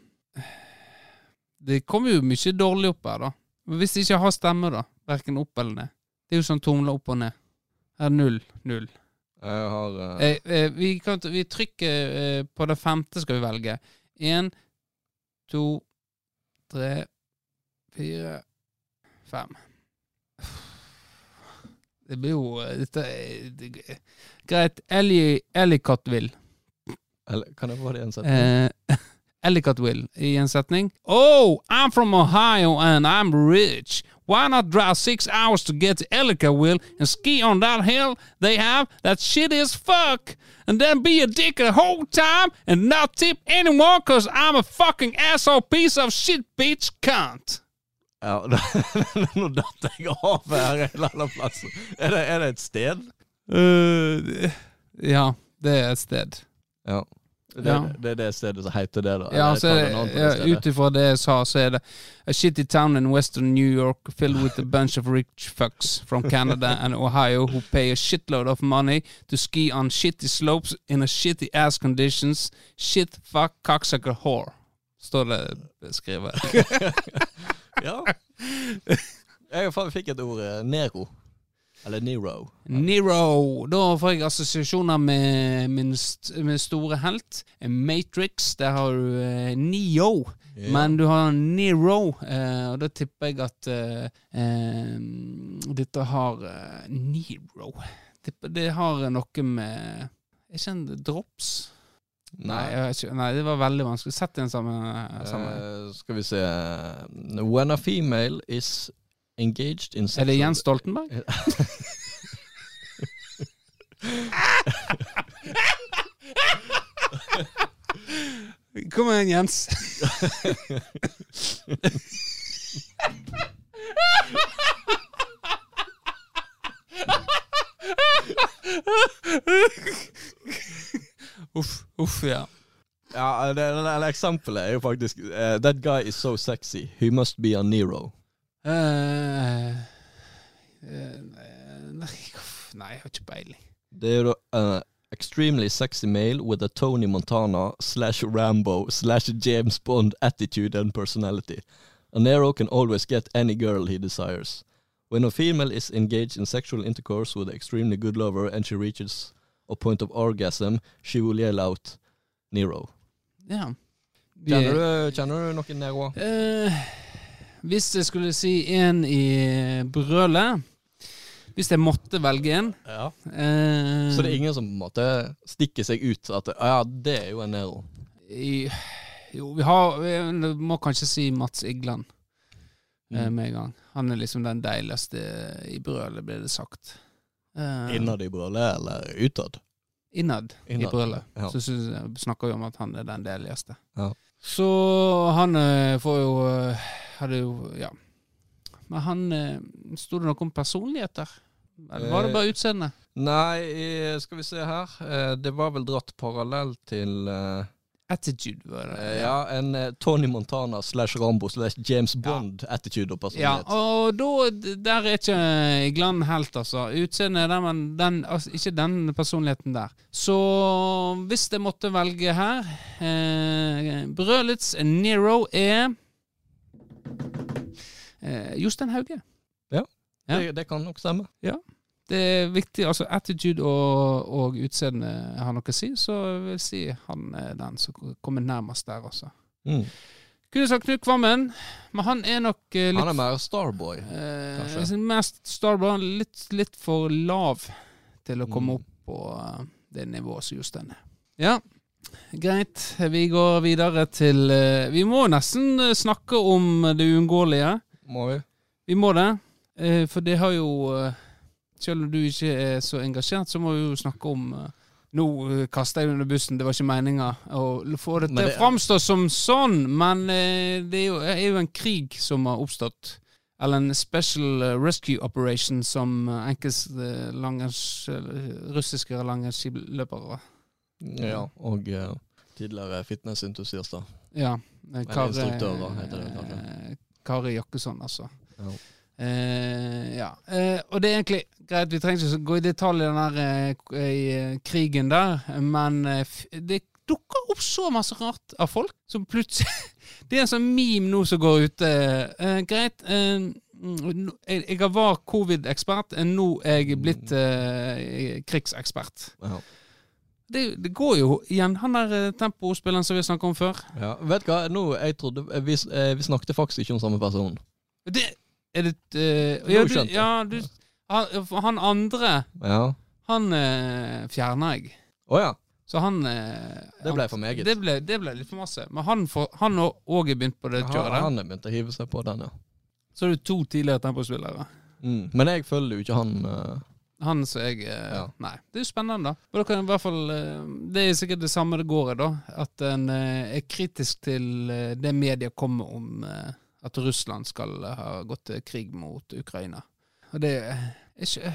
S1: Det kommer jo mye dårlig opp her, da. Men Hvis jeg ikke har stemme, da. Verken opp eller ned. Det er jo sånn tomler opp og ned. Her er null, null.
S2: Jeg har eh,
S1: Eh, eh, vi, kan, t- vi trykker eh, på det femte, skal vi velge. Én, to, tre, fire, fem. Det blir jo eh, dette, er- det, Greit. Ellie- Ellicott vil.
S2: eller, Kan jeg få det i en setning?
S1: Eh, Ellicott will i en setning. Oh, I'm from Ohio and I'm rich. Why not drive six hours to get to Ellicott will and ski on that hill they have that shit is fuck and then be a dick the whole time and not tip anyone cause I'm a fucking asshole piece of shit bitch cunt.
S2: Ja, da, nå datt jeg av her en eller annen plass. Er det, er det et sted?
S1: ja, det er et sted.
S2: Ja. Det,
S1: Ja.
S2: det er det stedet som heter det, da?
S1: Ja,
S2: Eller
S1: så
S2: tar
S1: er
S2: vi
S1: det,
S2: en annen på
S1: ja,
S2: det stedet?
S1: ut ifra det jeg sa, så er det A shitty town in western New York filled with a bunch of rich fucks from Canada and Ohio who pay a shitload of money to ski on shitty slopes in a shitty ass conditions. Shit, fuck, cocksucker, whore. Står det beskrevet.
S2: Ja. Jeg faen fikk et ord eh, Nero. Eller Nero.
S1: Nero. Da får jeg assosiasjoner med min, st min store helt. Matrix. Der har du eh, Neo.
S2: Ja.
S1: Men du har Nero, eh, og da tipper jeg at eh, eh, dette har eh, Nero. Tipper det har noe med Er ikke en drops? Nei, jeg vet ikke, nei, det var veldig vanskelig. Sett i en sammen. sammen.
S2: Eh, skal vi se eh, When a female is engaged in
S1: er det
S2: sexual-
S1: Jens Stoltenberg? Kom igjen, Jens. uff, uff, ja.
S2: Ja, det, det, det eksempelet er jo faktisk eh, That guy is so sexy. He must be a Nero.
S1: Eh, eh, nei, uff, nei, jeg har ikke peiling.
S2: Det er jo da eh, Extremely sexy male with a Tony Montana slash Rambo slash James Bond attitude and personality. A Nero can always get any girl he desires. When a female is engaged in sexual intercourse with an extremely good lover and she reaches a point of orgasm, she will yell out Nero.
S1: Ja. Vi-
S2: Kjenner du, kjenner du noen Nero?
S1: Eh, hvis jeg skulle si en i brølet Hvis jeg måtte velge en
S2: Ja.
S1: eh,
S2: Så det er ingen som på en måte stikker seg ut at «Ah, ja, det er jo en Nero.
S1: i- Jo, vi har vi må kanskje si Mats Igland
S2: Mm.
S1: eh, med en gang. Han er liksom den deiligste i brølet, ble det sagt. Eh,
S2: Innad i brølet eller utad?
S1: innad, i
S2: Innad,
S1: brølet.
S2: ja.
S1: Så synes jeg, snakker vi om at han er den deiligste.
S2: Ja.
S1: Så han eh, får jo eh, Hadde jo Ja. Men han eh, Sto det noe om personligheter? Eller var det
S2: Eh,
S1: bare utseende?
S2: Nei, eh, skal vi se her. Eh, Det var vel dratt parallell til eh,
S1: Attitude, var det.
S2: eh, Ja, en eh, Tony Montana slash Rambo slash James Bond-attitude og
S1: Ja,
S2: personlighet.
S1: og da, der er ikke Glenn helt, altså. Utseendet er der, men den, altså, ikke den personligheten der. Så hvis jeg måtte velge her eh, Brølets Nero er eh, Jostein Hauge. ja.
S2: Det, det kan nok stemme.
S1: Det er viktig, altså attitude og, og utseende har noe å si, så jeg vil si han er den som kommer nærmest der, altså.
S2: Mm.
S1: Kunne sagt Knut Kvammen, men han er nok eh, litt
S2: Han er mer Starboy.
S1: Eh,
S2: Kanskje.
S1: jeg synes mest Starbrand litt, litt for lav til å
S2: Mm.
S1: komme opp på eh, det nivået som Jostein er. Ja, greit. Vi går videre til eh, Vi må nesten eh, snakke om det uunngåelige.
S2: Må vi?
S1: Vi må det. eh, for det har jo eh, Selv om du ikke er så engasjert, så må vi jo snakke om eh, nå eh, kaster jeg det under bussen, det var ikke meninga å få det
S2: Men
S1: til å
S2: det-
S1: framstå som sånn, men eh, det er jo, er jo en krig som har oppstått. Eller en special eh, rescue operation, som eh, enkelte eh, langrenns- eh, russiske langrennsskiløpere.
S2: Ja, og eh, tidligere fitnessentusiaster.
S1: Ja. eh, Kari-
S2: instruktør, da, heter det kanskje.
S1: eh, Kari Jakkesson, altså.
S2: Ja.
S1: Eh, ja. Eh, og det er egentlig greit, vi trenger ikke så gå i detalj i den der eh, k- i, eh, krigen der, men eh, f- det dukker opp så masse rart av folk som plutselig Det er en sånn meme nå som går ute. Eh, greit, eh, mm, jeg, jeg var covid-ekspert, eh, nå er jeg blitt eh, krigsekspert.
S2: Ja.
S1: Det, det går jo igjen, han der eh, tempospilleren som vi snakket om før.
S2: Ja. Vet du hva, nå, jeg trodde, eh, vi, s- eh, vi snakket faktisk ikke om samme person.
S1: Det, er det eh,
S2: Nå
S1: ja,
S2: skjønte
S1: du,
S2: jeg.
S1: ja, du han, han andre,
S2: Ja.
S1: han eh, fjerna jeg.
S2: Å ja.
S1: Så han eh,
S2: Det ble for meget.
S1: han, det, ble, det ble litt for masse. Men han får- han har òg begynt på det
S2: Han,
S1: kjøret. der.
S2: han begynte å hive seg på den, ja.
S1: Så er det to tidligere tempospillere.
S2: Mm. Men jeg følger jo ikke han eh,
S1: Han som jeg eh,
S2: Ja.
S1: Nei. Det er jo spennende, da. Men da kan jeg i hvert fall eh, Det er sikkert det samme det går i, da. At en eh, er kritisk til eh, det media kommer om eh, at Russland skal eh, ha gått til krig mot Ukraina. Og det er ikke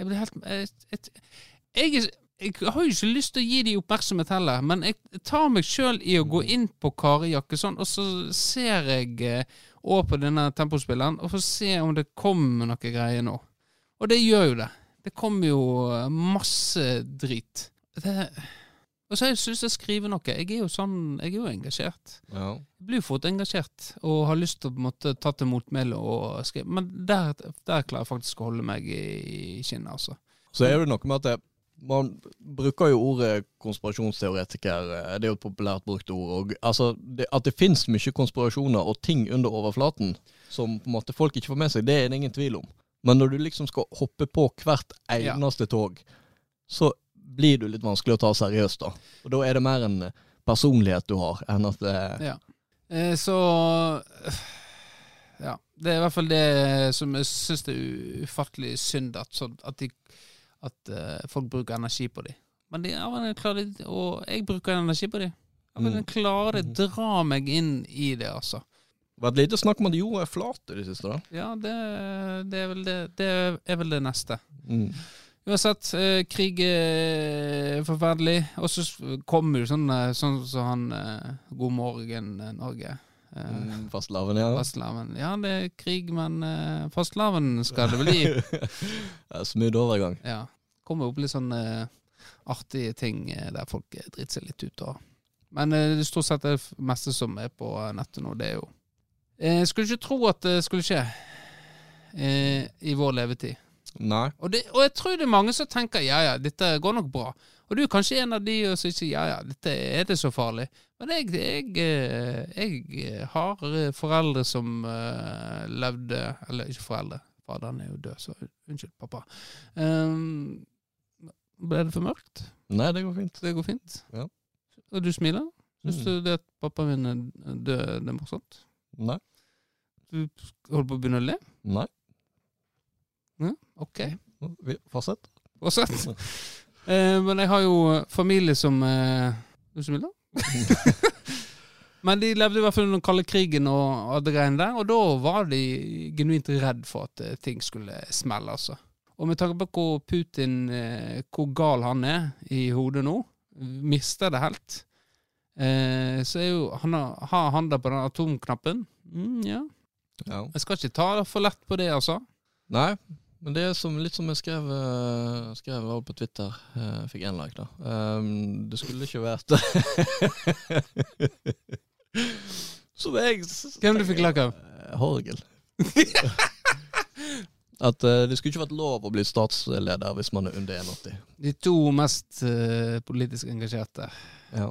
S1: Jeg blir helt Jeg, jeg, jeg, er- jeg har jo ikke lyst til å gi dem oppmerksomhet heller, men jeg tar meg sjøl i å gå inn på Kari Jakkesson, og så ser jeg eh, over på denne tempospilleren, og får se om det kommer noe greier nå. Og det gjør jo det. Det kommer jo eh, masse drit. Det, og så syns jeg synes jeg skriver noe. Jeg er jo sånn, jeg er jo engasjert.
S2: ja.
S1: Jeg blir jo fort engasjert og har lyst til å på en måte ta til motmæle og skrive. Men der, der klarer jeg faktisk å holde meg i kinnet, altså.
S2: Så er det noe med at det, man bruker jo ordet konspirasjonsteoretiker, eh, det er jo et populært brukt ord. Og, altså, det, at det finnes mye konspirasjoner og ting under overflaten som på en måte folk ikke får med seg, det er det ingen tvil om. Men når du liksom skal hoppe på hvert eneste tog, så blir du litt vanskelig å ta seriøst, da. Og da er det mer en personlighet du har, enn at det
S1: Eh, så Ja. Det er i hvert fall det som jeg syns det er ufattelig synd at, sånn, at, de, at eh, folk bruker energi på dem. Men de, ja, men jeg klarer det, og jeg bruker energi på dem. Ja, men jeg klarer det. Dra meg inn i det, altså.
S2: vært lite snakk om at jorda er flat i det siste, da.
S1: Ja, det, det, er, vel det, det er vel det neste.
S2: Mm.
S1: Uansett, eh, krig er forferdelig. Og så s- kommer jo sånn eh, sånn som han eh, God morgen eh, Norge. Eh,
S2: Mm, Fastelavn, ja.
S1: Fastlaven. Ja, det er krig, men eh, fastlaven skal det bli.
S2: Ja, Smooth overgang.
S1: Ja. Kommer opp litt sånne artige ting eh, der folk eh, driter seg litt ut. Og. Men eh, det er stort sett det f- meste som er på eh, nettet nå, det er jo eh, Skulle ikke tro at det skulle skje eh, i vår levetid.
S2: Nei.
S1: Og, det, og jeg tror det er mange som tenker ja ja, dette går nok bra. Og du er kanskje en av de og som ikke ja ja, dette er det så farlig. Men jeg, jeg, eh, jeg har eh, foreldre som eh, levde Eller ikke foreldre, faderen er jo død, så unnskyld, pappa. Ehm, ble det for mørkt?
S2: Nei, det går fint.
S1: Det går fint?
S2: Ja.
S1: Og du smiler? Syns
S2: Mm.
S1: du det at pappaen min er død, det er morsomt?
S2: Nei.
S1: Du holder på å begynne å le?
S2: Nei.
S1: Ok.
S2: Vi- Fortsett.
S1: Fortsett. Eh, men jeg har jo familie som eh, Du smiler? men de levde i hvert fall under den kalde krigen og alt det greiene der, og da var de genuint redd for at eh, ting skulle smelle, altså. Og med tanke på hvor Putin, eh, hvor gal han er i hodet nå, mister det helt, eh, så er jo han har- har han da på den atomknappen. Mm, ja.
S2: Ja.
S1: Jeg skal ikke ta for lett på det, altså.
S2: Nei, men det er som, litt som jeg skrev, eh, skrev over på Twitter. eh, fikk én like, da. Ehm, det skulle ikke vært Som jeg s-
S1: Hvem du fikk like av?
S2: Eh, Horgel. At eh, det skulle ikke vært lov å bli statsleder hvis man er under 1,80.
S1: De to mest eh, politisk engasjerte.
S2: Ja.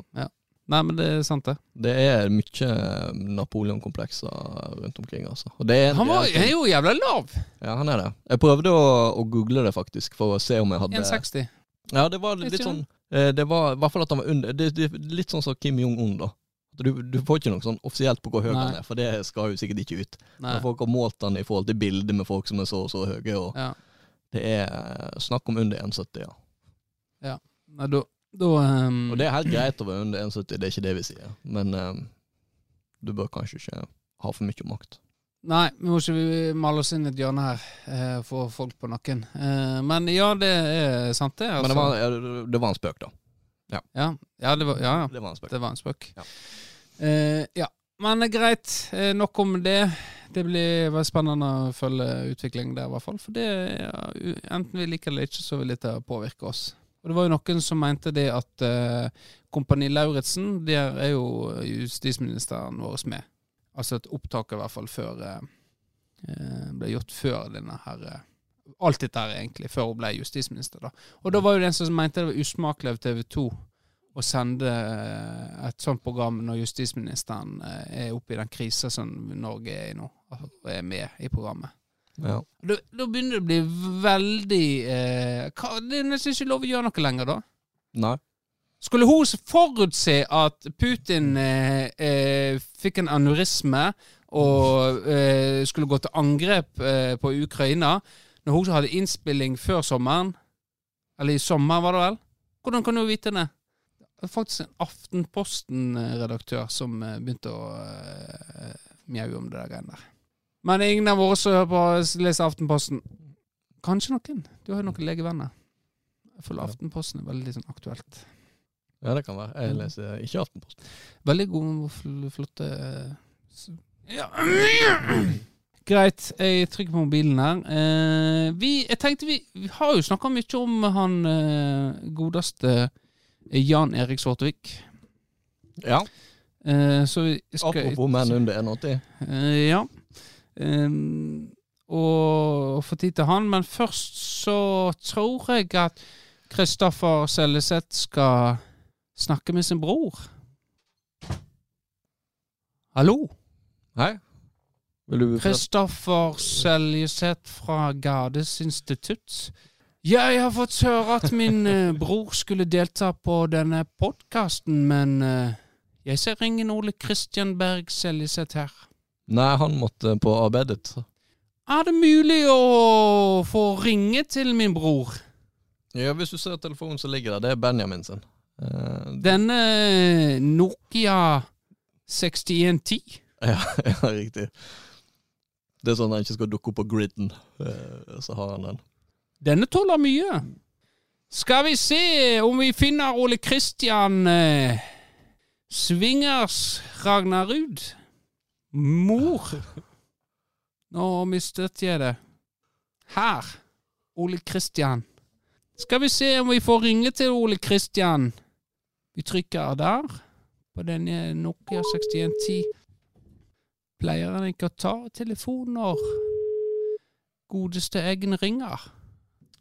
S1: Nei, men det er sant, det.
S2: Det er mye eh, Napoleon-komplekser rundt omkring, altså. Og det er en
S1: Han var,
S2: reell ting.
S1: er jo jævla lav!
S2: Ja, han er det. Jeg prøvde å, å google det, faktisk, for å se om jeg hadde
S1: 1,60.
S2: Ja, det var
S1: Vet
S2: litt
S1: du
S2: sånn eh, Det var i hvert fall at han var under det, det, Litt sånn som Kim Jong-un, da. At Du, du får ikke noe sånn offisielt på hvor høy
S1: Nei.
S2: han er, for det skal jo sikkert ikke ut.
S1: Nei.
S2: Men folk har målt han i forhold til bilder med folk som er så og så høye, og
S1: Ja.
S2: det er eh, snakk om under 1,70, ja.
S1: Nei, da, da ehm,
S2: Og det er helt greit å være under 1,70, det er ikke det vi sier, men eh, du bør kanskje ikke ha for mye makt.
S1: Nei, vi må ikke vi male oss inn i et hjørne her eh, for folk på nakken. Eh, men ja, det er sant, det. Altså.
S2: Men det var, ja, det var en spøk, da.
S1: ja, ja, det var, ja, ja.
S2: Det var en spøk.
S1: Det var en spøk.
S2: Ja.
S1: Eh, ja. Men eh, greit, eh, nok om det. Det blir veldig spennende å følge utviklingen der, i hvert fall. For det, ja, u- enten vi liker det eller ikke, så vil dette påvirke oss. Og det var jo noen som mente det at eh, Kompani Lauritzen, der er jo justisministeren vår med. Altså et opptak i hvert fall før eh, eh, ble gjort før denne her eh, Alt dette her, egentlig, før hun ble justisminister. da. Og da var jo det en som mente det var usmakelig av TV 2 å sende eh, et sånt program når justisministeren eh, er oppe i den krisa som Norge er i nå, altså, og er med i programmet.
S2: Ja.
S1: Da, da begynner det å bli veldig eh, hva, Det er nesten ikke lov å gjøre noe lenger, da.
S2: Nei.
S1: Skulle hun forutse at Putin eh, eh, fikk en aneurisme og eh, skulle gå til angrep eh, på Ukraina, når hun hadde innspilling før sommeren? Eller i sommer, var det vel? Hvordan kan hun vite det? Det var faktisk en Aftenposten-redaktør som eh, begynte å eh, mjaue om det der greiene der. Men ingen av våre som hører på, leser Aftenposten. Kanskje noen. Du har jo noen legevenner. Jeg føler
S2: Ja.
S1: Aftenposten er veldig sånn aktuelt.
S2: Ja, det kan være.
S1: Mm.
S2: Jeg leser ikke Aftenposten.
S1: Veldig gode og fl- flotte eh, s- ja. Greit, jeg trykker på mobilen her. Eh, vi, jeg tenkte vi, vi har jo snakka mye om han eh, godeste eh, Jan Erik Svartevik.
S2: Ja.
S1: Eh, så vi skal
S2: Apropos menn under 1,80.
S1: Eh, ja. Ehm, og få tid til han, men først så tror jeg at Kristoffer Selleseth skal snakke med sin bror. Hallo?
S2: Hei. Vil du
S1: Kristoffer Seljeseth fra Gardes institutt. Jeg har fått høre at min eh, bror skulle delta på denne podkasten, men eh, jeg ser ingen Ole Kristian Berg Seljeseth her.
S2: Nei, han måtte på arbeidet.
S1: Er det mulig å få ringe til min bror?
S2: Ja, hvis du ser telefonen som ligger der, det er Benjamin sin. Eh,
S1: Denne eh, Nokia 6110?
S2: ja, ja, riktig. Det er sånn han ikke skal dukke opp på griden, eh, så har han den.
S1: Denne tåler mye. Skal vi se om vi finner Ole Kristian eh, Svingers Ragnarud? Mor. Nå mistet jeg det. Her. Ole Kristian. Skal vi se om vi får ringe til Ole Kristian. Vi trykker der. På denne Nokia 6110. Pleier han ikke å ta telefonen når godeste Eggen ringer?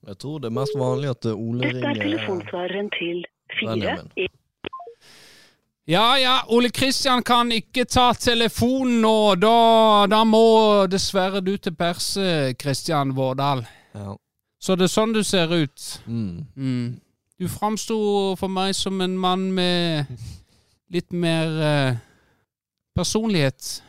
S2: Jeg tror det er mest vanlig at eh, Ole
S3: Dette er
S2: ringer
S3: telefonsvareren til fire
S2: Benjamin.
S1: Ja, ja, Ole Kristian kan ikke ta telefonen nå. Da, da må dessverre du til pers, eh, Kristian Vårdal.
S2: Ja.
S1: Så det er sånn du ser ut.
S2: Mm.
S1: Mm. Du framsto for meg som en mann med litt mer eh, personlighet.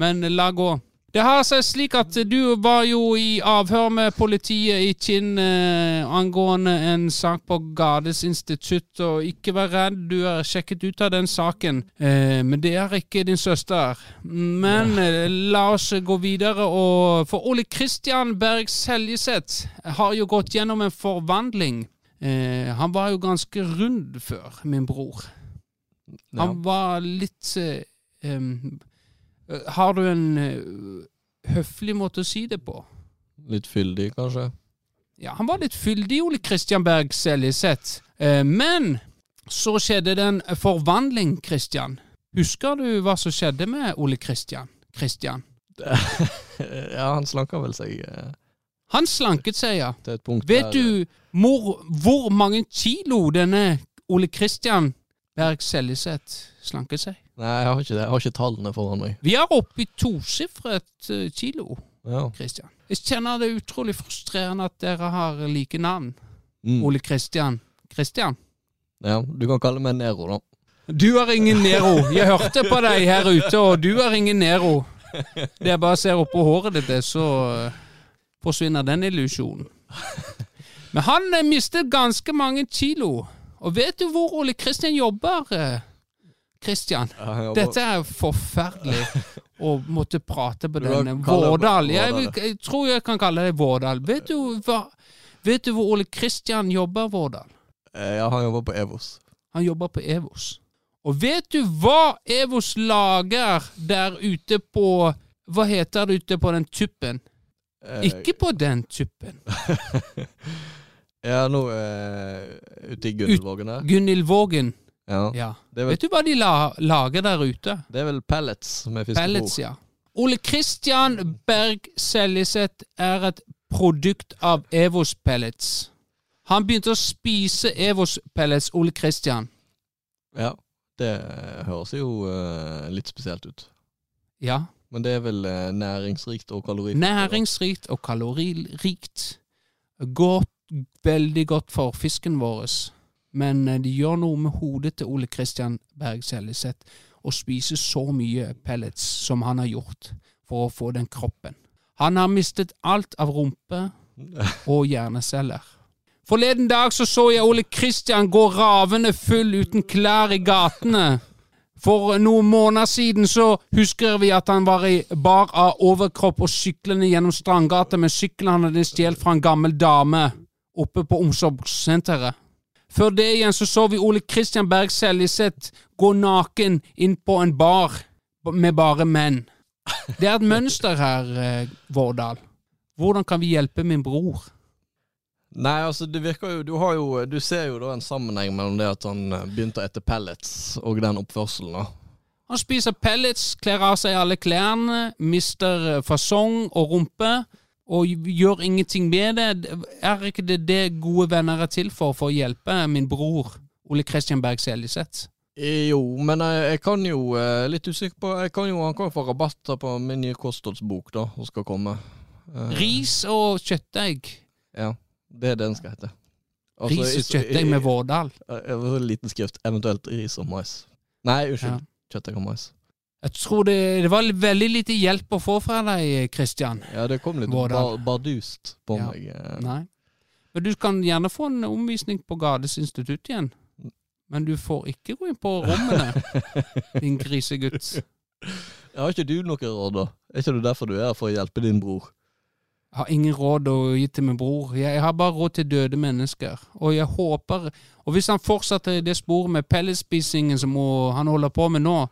S1: Men la gå. Det har seg slik at du var jo i avhør med politiet i Kinn eh, angående en sak på Gardes institutt, og ikke vær redd, du er sjekket ut av den saken. Eh, men det er ikke din søster. Men eh, la oss gå videre, og for Ole Kristian Berg Seljeseth har jo gått gjennom en forvandling. Eh, han var jo ganske rund før, min bror.
S2: Ja.
S1: Han var litt eh, em, eh, Har du en eh, høflig måte å si det på?
S2: Litt fyldig, kanskje.
S1: Ja, han var litt fyldig, Ole Kristian Berg Seljeseth. Eh, men så skjedde det en forvandling, Kristian. Husker du hva som skjedde med Ole Kristian? Kristian.
S2: ja, han slanker vel seg eh,
S1: Han slanket seg, ja.
S2: til et punkt
S1: Vet
S2: der
S1: du mor, hvor mange kilo denne Ole Kristian Berg Seljeseth slanket seg?
S2: Nei, jeg har ikke det. Jeg har ikke tallene foran meg.
S1: Vi er oppe i tosifret eh, kilo.
S2: Ja.
S1: Kristian. Jeg kjenner det er utrolig frustrerende at dere har like navn.
S2: Mm.
S1: Ole Kristian. Kristian?
S2: ja. Du kan kalle meg Nero, da.
S1: Du er ingen Nero. Jeg hørte på deg her ute, og du er ingen Nero. Det jeg bare ser oppå håret ditt, det, så eh, forsvinner den illusjonen. Men han eh, mistet ganske mange kilo. Og vet du hvor Ole Kristian jobber, eh, Kristian,
S2: Ja, jeg jobber-
S1: dette er forferdelig å måtte prate på
S2: Du kan
S1: denne
S2: kalle det
S1: Vårdal. Jeg,
S2: Vårdal,
S1: vil- jeg tror jeg kan kalle det Vårdal. Vet du hva Vet du hvor Ole Kristian jobber, Vårdal?
S2: Eh, Ja, han jobber på EVOS.
S1: Han jobber på Evos. Og vet du hva Evos lager der ute på Hva heter det ute på den tuppen?
S2: Eh,
S1: Ikke på den tuppen.
S2: Ja, nå eh, ute i Gunnvågen der.
S1: Gunhild Vågen.
S2: Ja.
S1: Ja.
S2: Det, er vel,
S1: Vet du hva de la, lager der ute?
S2: det er vel pellets med
S1: Pellets,
S2: fiskefôr.
S1: ja. Ole Kristian Berg Seljeseth er et produkt av Evos Pellets. Han begynte å spise Evos Pellets, Ole Kristian.
S2: Ja. Det eh, høres jo eh, litt spesielt ut.
S1: Ja.
S2: Men det er vel eh, næringsrikt og kalorifikt.
S1: Næringsrikt og kaloririkt. Går veldig godt for fisken vår. Men eh, det gjør noe med hodet til Ole Kristian Berg Seljeseth å spise så mye pellets som han har gjort for å få den kroppen. Han har mistet alt av rumpe og hjerneceller. Forleden dag så, så jeg Ole Kristian gå ravende full uten klær i gatene. For noen måneder siden så husker vi at han var i bar av overkropp og syklende gjennom Strandgata med sykkelen han hadde stjålet fra en gammel dame oppe på omsorgssenteret. Før det igjen så så vi Ole Kristian Berg Seljeseth gå naken inn på en bar b- med bare menn. Det er et mønster her, eh, Vårdal. Hvordan kan vi hjelpe min bror?
S2: Nei, altså det virker jo du, har jo du ser jo da en sammenheng mellom det at han eh, begynte å ete pellets og den oppførselen. da.
S1: Han spiser pellets, kler av seg alle klærne, mister eh, fasong og rumpe, og gj- gjør ingenting med det. Er ikke det det gode venner er til for, for å hjelpe min bror Ole Kristian Berg Seljeseth?
S2: Eh, Jo, men jeg, jeg kan jo eh, Litt usikker på jeg kan jo, Han kan jo få rabatter på min nye kostholdsbok da, som skal komme. Eh,
S1: Ris og kjøttdeig.
S2: Ja, det er det den skal hete. Altså,
S1: Ris
S2: i-
S1: og kjøttdeig med Vårdal.
S2: Eh, eh, Liten skrift. Eventuelt ris og mais. Nei, unnskyld. Kjøttdeig og mais.
S1: Jeg tror det, det var veldig lite hjelp å få fra deg, eh, Kristian.
S2: Ja, det kom litt
S1: Hvordan?
S2: ba bardust på
S1: Ja.
S2: meg. eh.
S1: Nei. Men du kan gjerne få en omvisning på Gades institutt igjen. Men du får ikke gå inn på rommene, din grisegutt.
S2: Har ikke du noe råd, da? Er ikke det derfor du er her? For å hjelpe din bror?
S1: Jeg har ingen råd å gi til min bror. Jeg har bare råd til døde mennesker. Og jeg håper Og hvis han fortsetter i det sporet med pelletspisingen som hun- han holder på med nå,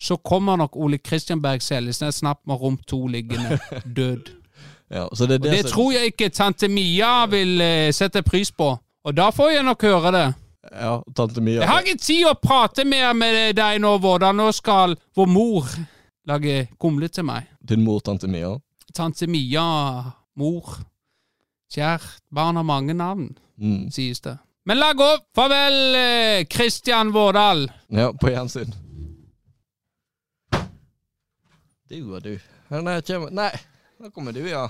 S1: så kommer nok Ole Kristian Berg Seljesnes snart med Romp 2 liggende død.
S2: Ja, så det er
S1: Og det
S2: som-
S1: tror jeg ikke tante Mia vil eh, sette pris på. Og da får jeg nok høre det.
S2: Ja, tante Mia.
S1: Jeg har ikke tid å prate mer med deg nå, Vårda. Nå skal vår mor lage kumle til meg.
S2: Din mor, tante Mia.
S1: Tante Mia, mor, kjært barn har mange navn,
S2: Mm.
S1: sies det. Men la gå! Farvel, eh, Kristian Vårdal.
S2: Ja, på gjensyn. Du og du. Ja, Nei, kjem... Nei, nå kommer du, ja.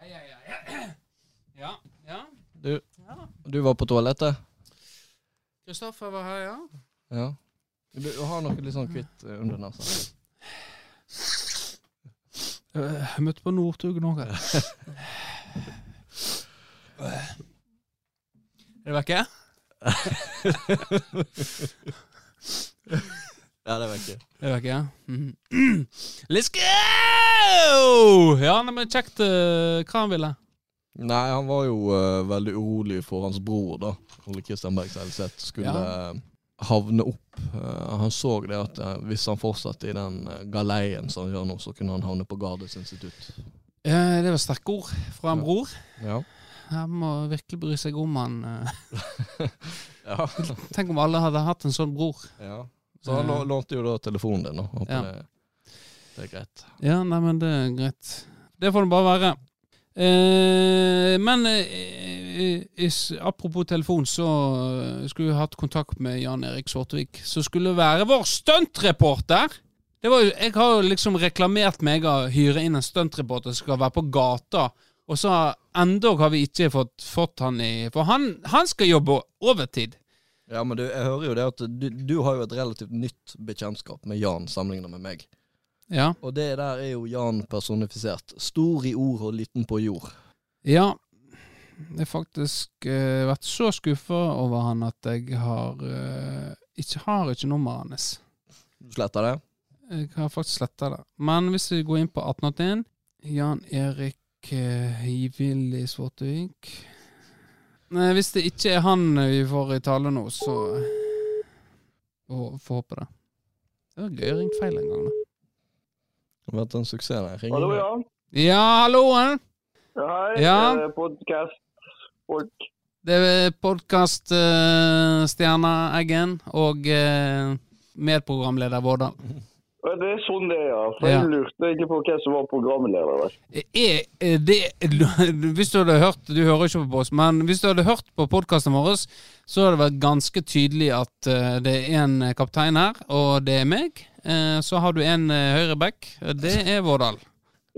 S1: Ja, ja, ja. Ja, ja.
S2: Du, du var på toalettet?
S1: Kristoffer var her, ja.
S2: Ja. Du har noe litt sånn hvitt eh, under nesa.
S1: Eh, Jeg møtte på Northug nå. Er det vekke?
S2: Ja, det vet jeg.
S1: Det vet ikke jeg. Mhm. Let's go! Ja, nei, men kjekt eh, hva han ville.
S2: Nei, han var jo eh, veldig urolig for hans bror, da. Ole Kristian Berg Selseth skulle
S1: Ja.
S2: eh, havne opp. Eh, han så det at eh, hvis han fortsatte i den eh, galeien som han gjør nå, så kunne han havne på Gardes institutt.
S1: Eh, det var sterke ord fra en
S2: Ja.
S1: bror.
S2: Ja.
S1: Han må virkelig bry seg om han. eh.
S2: ja.
S1: Tenk om alle hadde hatt en sånn bror.
S2: Så han lå- lånte jo da telefonen din, da. Håper
S1: Ja.
S2: det, det er greit.
S1: Ja, nei, men det er greit. Det får det bare være. Eh, men eh, is, apropos telefon, så eh, skulle vi hatt kontakt med Jan Erik Svartvik, som skulle være vår stuntreporter. Det var jo, jeg har jo liksom reklamert meg å hyre inn en stuntreporter som skal være på gata, og så har- endog har vi ikke fått, fått han i For han, han skal jobbe overtid.
S2: Ja, men du, jeg hører jo det at du, du har jo et relativt nytt bekjentskap med Jan sammenlignet med meg.
S1: Ja.
S2: Og det der er jo Jan personifisert. Stor i ord og liten på jord.
S1: Ja. Jeg har faktisk eh, vært så skuffa over han at jeg har eh, ikke, har ikke nummeret hans.
S2: Du sletter det?
S1: Jeg har faktisk sletta det. Men hvis vi går inn på 1881 Jan Erik eh, Hivilli Svartvik Nei, hvis det ikke er han vi får i tale nå, så eh, Får får håpe det. Det var gøy. Ringt feil en gang, da.
S2: Det har vært en suksess, den ringen.
S4: Hallo, ja.
S1: Ja, halloen!
S4: Ja, Hei,
S1: Ja.
S4: eh, podcast-folk.
S1: Det er podkaststjerna Eggen og eh, medprogramleder Vårdal.
S4: Ja, Det er sånn det er, ja. For
S1: Ja.
S4: jeg lurte ikke på hvem som var programleder der.
S1: er er det Hvis du hadde hørt Du hører ikke på oss, men hvis du hadde hørt på podkasten vår, så hadde det vært ganske tydelig at eh, det er en kaptein her, og det er meg. Eh, Så har du en eh, høyreback, og det er Vårdal.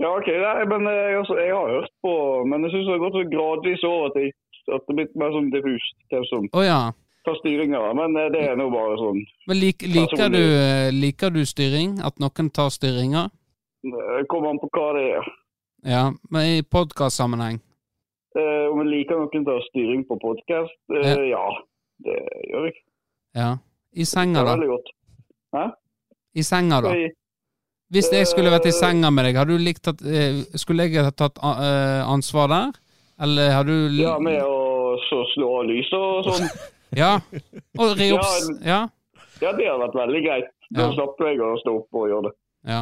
S4: Ja, ok, nei, men eh, jeg, altså, jeg har hørt på Men jeg syns det har gått så gradvis over at, jeg, at det er blitt mer sånn diffust hvem som
S1: Å ja.
S4: tar styringa. Men eh, det er nå bare sånn
S1: Men lik, liker, du, eh, liker du styring? At noen tar styringa?
S4: eh, Kommer an på hva det er.
S1: Ja, men i podkastsammenheng.
S4: Eh, om jeg liker noen til å ha styring på podkast? Eh, ja. Det gjør jeg.
S1: Ja. I
S4: Det
S1: senga,
S4: er
S1: da.
S4: veldig godt.
S1: I senga, da.
S4: Jeg,
S1: Hvis jeg skulle vært i senga med deg, hadde du likt at eh, Skulle jeg ha tatt a- eh, ansvar der? Eller har du li-
S4: ja, med å så slå av lyset og sånn.
S1: Ja. Og ri opp s- Ja.
S4: Ja, det hadde vært veldig greit. Da
S1: Ja.
S4: slapp jeg å stå opp og gjøre det.
S1: ja.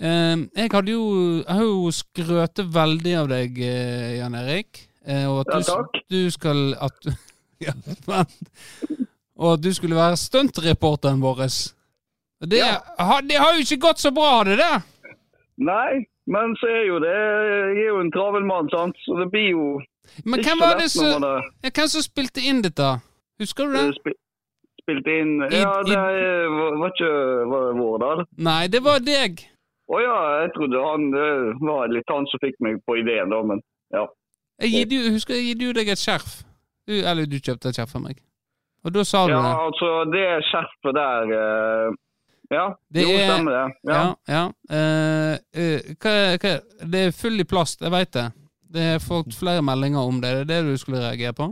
S1: Eh, jeg hadde jo Jeg har jo skrøtet veldig av deg, eh, Jan Erik. eh, og at
S4: Ja,
S1: du, s-
S4: takk.
S1: du skal At du Ja, men Og at du skulle være stuntreporteren vår. Det,
S4: Ja.
S1: ha, det har jo ikke gått så bra, det der!
S4: Nei, men så er jo det Jeg er jo en travel mann, sant. Så det blir jo
S1: Men
S4: ikke
S1: hvem
S4: så
S1: var
S4: lett
S1: det
S4: når
S1: som
S4: man har
S1: ja, Hvem som spilte inn dette? Husker du
S4: eh,
S1: det?
S4: spil- spilt inn
S1: I-
S4: Ja,
S1: i-
S4: det er- var, var ikke var det Vårdal?
S1: Nei, det var deg.
S4: Å ja, jeg trodde han eh, var litt han som fikk meg på ideen, da, men
S1: Jeg gir du, husker jeg gir du deg et skjerf. Du, eller du kjøpte et skjerf av meg. Og da sa du
S4: Ja,
S1: det.
S4: altså, det skjerfet der eh, Ja,
S1: Det
S4: det jo,
S1: er-
S4: stemmer det. Ja.
S1: Ja, ja. Eh, eh, hva, hva, det er full i plast, jeg veit det. Det er fått flere meldinger om det. Er det det du skulle reagere på?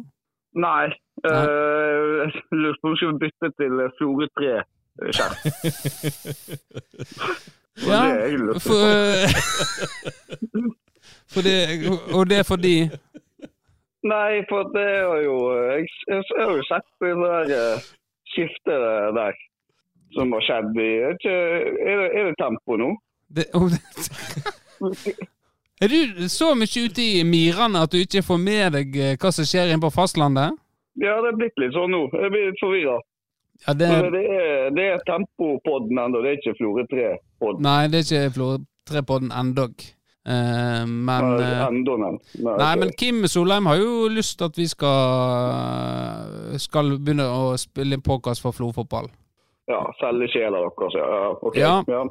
S4: Nei. eh, Jeg lurte på om vi skulle bytte til eh, Florø 3-skjerf.
S1: Ja,
S4: det er jeg lurt på.
S1: for, eh, for det, Og det er fordi
S4: Nei, for det er jo Jeg, jeg, jeg har jo sett det der eh, skiftet der som har skjedd i Er det, er det, er det tempo nå?
S1: det, og det, Er du så mye ute i mirene at du ikke får med deg eh, hva som skjer inne på fastlandet?
S4: Ja, det er blitt litt sånn nå. Jeg blir litt forvirra.
S1: Ja, det,
S4: Det er, det er Tempopodden ennå, det er ikke Florø 3-podden.
S1: nei, det er ikke Florø-trepodden endog. Eh, men eh,
S4: Enda, men. Nei,
S1: Nei,
S4: ok.
S1: men Kim Solheim har jo lyst til at vi skal eh, Skal begynne å spille inn podkast for Florfotball.
S4: Ja, selge sjela deres, ja. ja, ok.
S1: Ja.
S4: ja.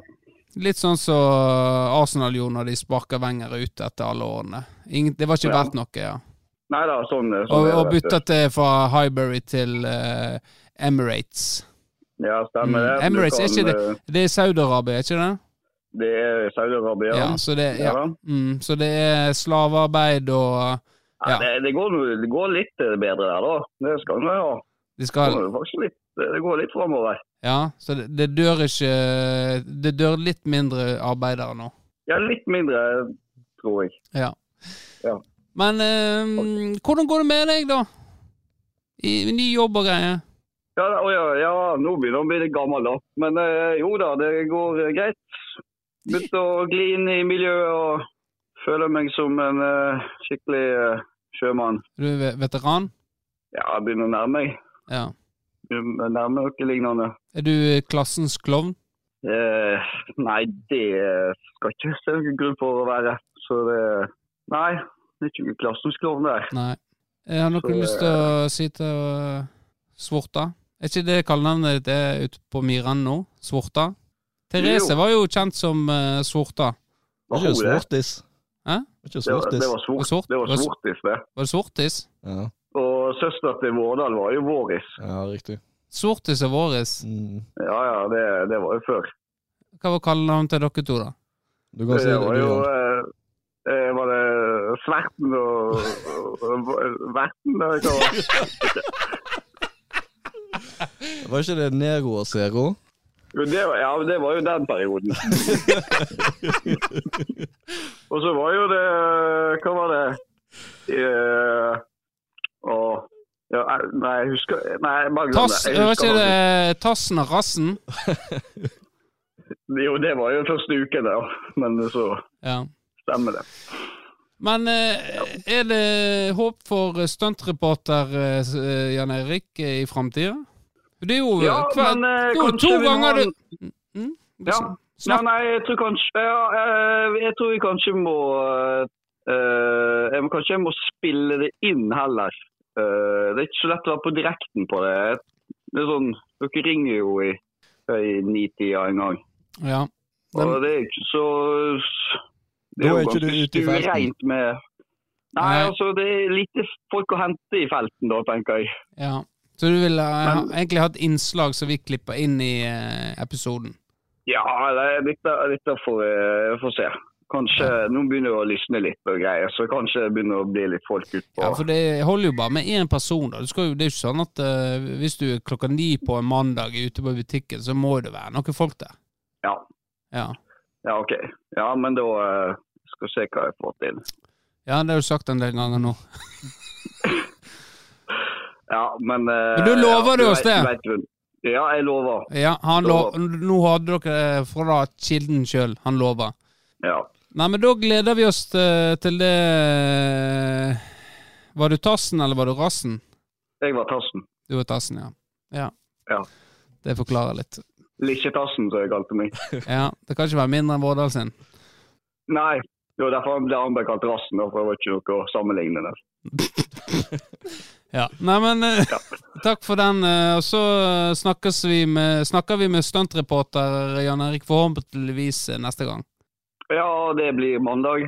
S1: Litt sånn som eh, Arsenal gjorde når de sparka Wenger ut etter alle årene. Ingen, det var ikke
S4: Ja.
S1: verdt noe, ja.
S4: Nei da, sånn, sånn
S1: Og,
S4: er
S1: og
S4: det, vet du.
S1: bytta til fra Highbury til eh, Emirates.
S4: Ja, stemmer det.
S1: Mm, Emirates,
S4: Du
S1: er ikke
S4: eh,
S1: Det er Saudi-Arabia, ikke det?
S4: Det er Saudi-Arabia.
S1: Ja, så det, ja.
S4: da.
S1: Mm, så det er slavearbeid og eh,
S4: Ja,
S1: Ja.
S4: Det, det, går, nå- det går litt eh, bedre der, da. Det skal vi ha.
S1: De
S4: Det
S1: skal
S4: går jo faktisk litt, eh, det går litt framover.
S1: Ja, så det, det dør ikke Det dør litt mindre arbeidere nå.
S4: Ja, litt mindre, tror jeg.
S1: Ja.
S4: Ja.
S1: Men eh, hvordan går det med deg, da? I, i ny jobb og greier?
S4: Ja, da- å ja, ja nå begynner jeg å bli gammel, da. Men eh, jo da, det går eh, greit. Begynte å gli inn i miljøet og føler meg som en eh, skikkelig eh, sjømann.
S1: Du er ve- veteran?
S4: Ja, jeg begynner å nærme meg.
S1: Ja.
S4: Begynner å Nærme meg noe lignende.
S1: Er du klassens klovn?
S4: Eh, nei, det skal ikke se noen grunn for å være. Så det Nei, det er ikke noen klassens klovn der.
S1: Nei. Jeg har noe
S4: Så,
S1: lyst til å si til eh, Svorta. Er ikke det kallenavnet ditt er ute på Miran nå? Svorta? Therese
S4: Jo.
S1: var jo kjent som eh, Svorta.
S2: Det
S4: Var
S2: er ikke
S4: hun det?
S2: svortis.
S1: Hæ?
S2: Det er ikke
S4: Det var,
S2: svortis.
S4: det var svort.
S1: Svort-
S4: Det var
S1: det var-
S4: Svortis, det.
S1: Var det Sortis?
S2: Ja,
S4: Og søster til Vårdal var jo Våris.
S2: ja, riktig.
S1: Sortis og Våris.
S2: Mm.
S4: Ja ja, det, det var jo før.
S1: Hva var kallenavnet til dere to, da?
S2: Du kan
S4: Det
S2: si det,
S4: var
S2: du,
S4: jo
S2: Jan.
S4: eh, eh, Var det Sverten og og- og Verten? eller hva var det?
S2: Var ikke det Nero og Zero?
S4: Jo, det var, ja, det var jo den perioden. og så var jo det Hva var det Eh, å, ja, eh, Nei, jeg husker Nei, jeg bare glem
S1: Tass,
S4: Jeg
S1: var
S4: husker
S1: ikke det Tassen og Rassen?
S4: Jo, det var jo første uken, da. Men så
S1: Ja.
S4: stemmer det.
S1: Men eh, er det håp for stuntreporter eh, Jan Eirik eh, i framtida? Det er jo
S4: Ja,
S1: hver,
S4: men eh,
S1: det er jo
S4: kanskje
S1: to
S4: vi må ha
S1: ganger
S4: en-
S1: du mm,
S4: Ja. Nei,
S1: Snakk.
S4: nei, jeg tror kanskje ja, eh, Jeg tror vi kanskje må eh, jeg, må- Kanskje jeg må spille det inn heller. Eh, det er ikke så lett å være på direkten på det. Det er sånn, Dere ringer jo i, i nitida en gang.
S1: Ja.
S4: Og
S1: Den,
S4: det er ikke så
S2: Da
S4: Det er
S2: er
S4: jo
S2: ikke du
S4: ganske
S2: ute i felten.
S4: stuereint med Nei,
S1: Nei.
S4: altså det er lite folk å hente i felten da, tenker jeg.
S1: ja. Så du ville eh,
S4: Men-
S1: egentlig hatt innslag som vi klipper inn i eh, episoden?
S4: Ja, det- dette, dette får vi får se. Kanskje Nå begynner det å lysne litt og greier, så kanskje det begynner å bli litt folk utpå.
S1: Ja, for det holder jo bare med én person. da. Du skal jo, det er jo ikke sånn at eh, hvis du er klokka ni på en mandag er ute på butikken, så må det være noen folk der.
S4: Ja.
S1: Ja,
S4: ja, OK. Ja, men da eh, skal vi se hva jeg får til.
S1: ja det har du sagt en del ganger nå.
S4: Ja, men eh,
S1: Men du lover
S4: ja,
S1: det oss
S4: vet-
S1: det?
S4: vet du- Ja, jeg lover.
S1: Ja, han lo Nå hadde dere eh, fra kilden sjøl, han lover.
S4: Ja.
S1: Nei, men da gleder vi oss til, til det Var du Tassen, eller var du Rassen?
S4: Jeg var Tassen.
S1: Du var Tassen, ja. Ja.
S4: Ja.
S1: Det forklarer litt.
S4: Likkje-Tassen, som jeg kalte meg.
S1: Ja, Det kan ikke være mindre enn Vårdal sin.
S4: Nei, det var derfor han ble han ble kalt rassen, da, for det var ikke noe å sammenligne det.
S1: Ja. Nei, men eh,
S4: Ja.
S1: takk for den. eh, og så eh, snakkes vi med, snakker vi med stuntreporter eh, Jan Erik forhåpentligvis eh, neste gang.
S4: Ja, det blir mandag.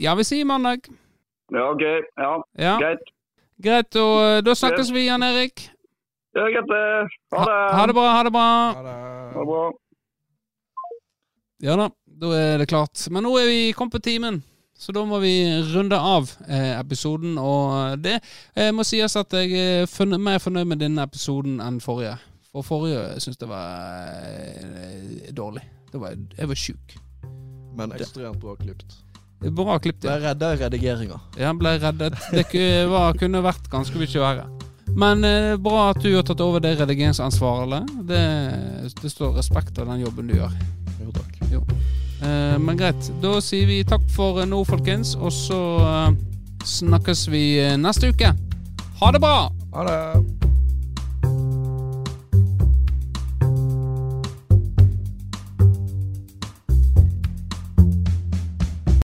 S1: Ja, vi sier mandag.
S4: Ja, OK. Ja,
S1: Ja,
S4: greit.
S1: Greit, og eh, da snakkes vi, Jan Erik.
S4: Ja, greit. det. Ha det.
S1: Ha det bra, ha det bra.
S4: Ha det bra.
S1: Ja da, da er det klart. Men nå er vi kommet på timen, så da må vi runde av eh, episoden. Og det eh, må sies at jeg er fornø- mer fornøyd med denne episoden enn forrige. For forrige syns jeg var eh, dårlig. Da var jeg, jeg var sjuk.
S2: Men ekstremt bra klipt.
S1: Bra klipp,
S2: Ble
S1: ja.
S2: redda i redigeringa.
S1: Jeg ble reddet. Det ku- var, kunne vært ganske mye verre. Men eh, bra at du har tatt over det redigeringsansvaret. Det, det står respekt av den jobben du gjør.
S2: Jo, takk.
S1: Eh, men greit, da sier vi takk for eh, nå, folkens, og så eh, snakkes vi eh, neste uke. Ha det bra!
S2: Ha det.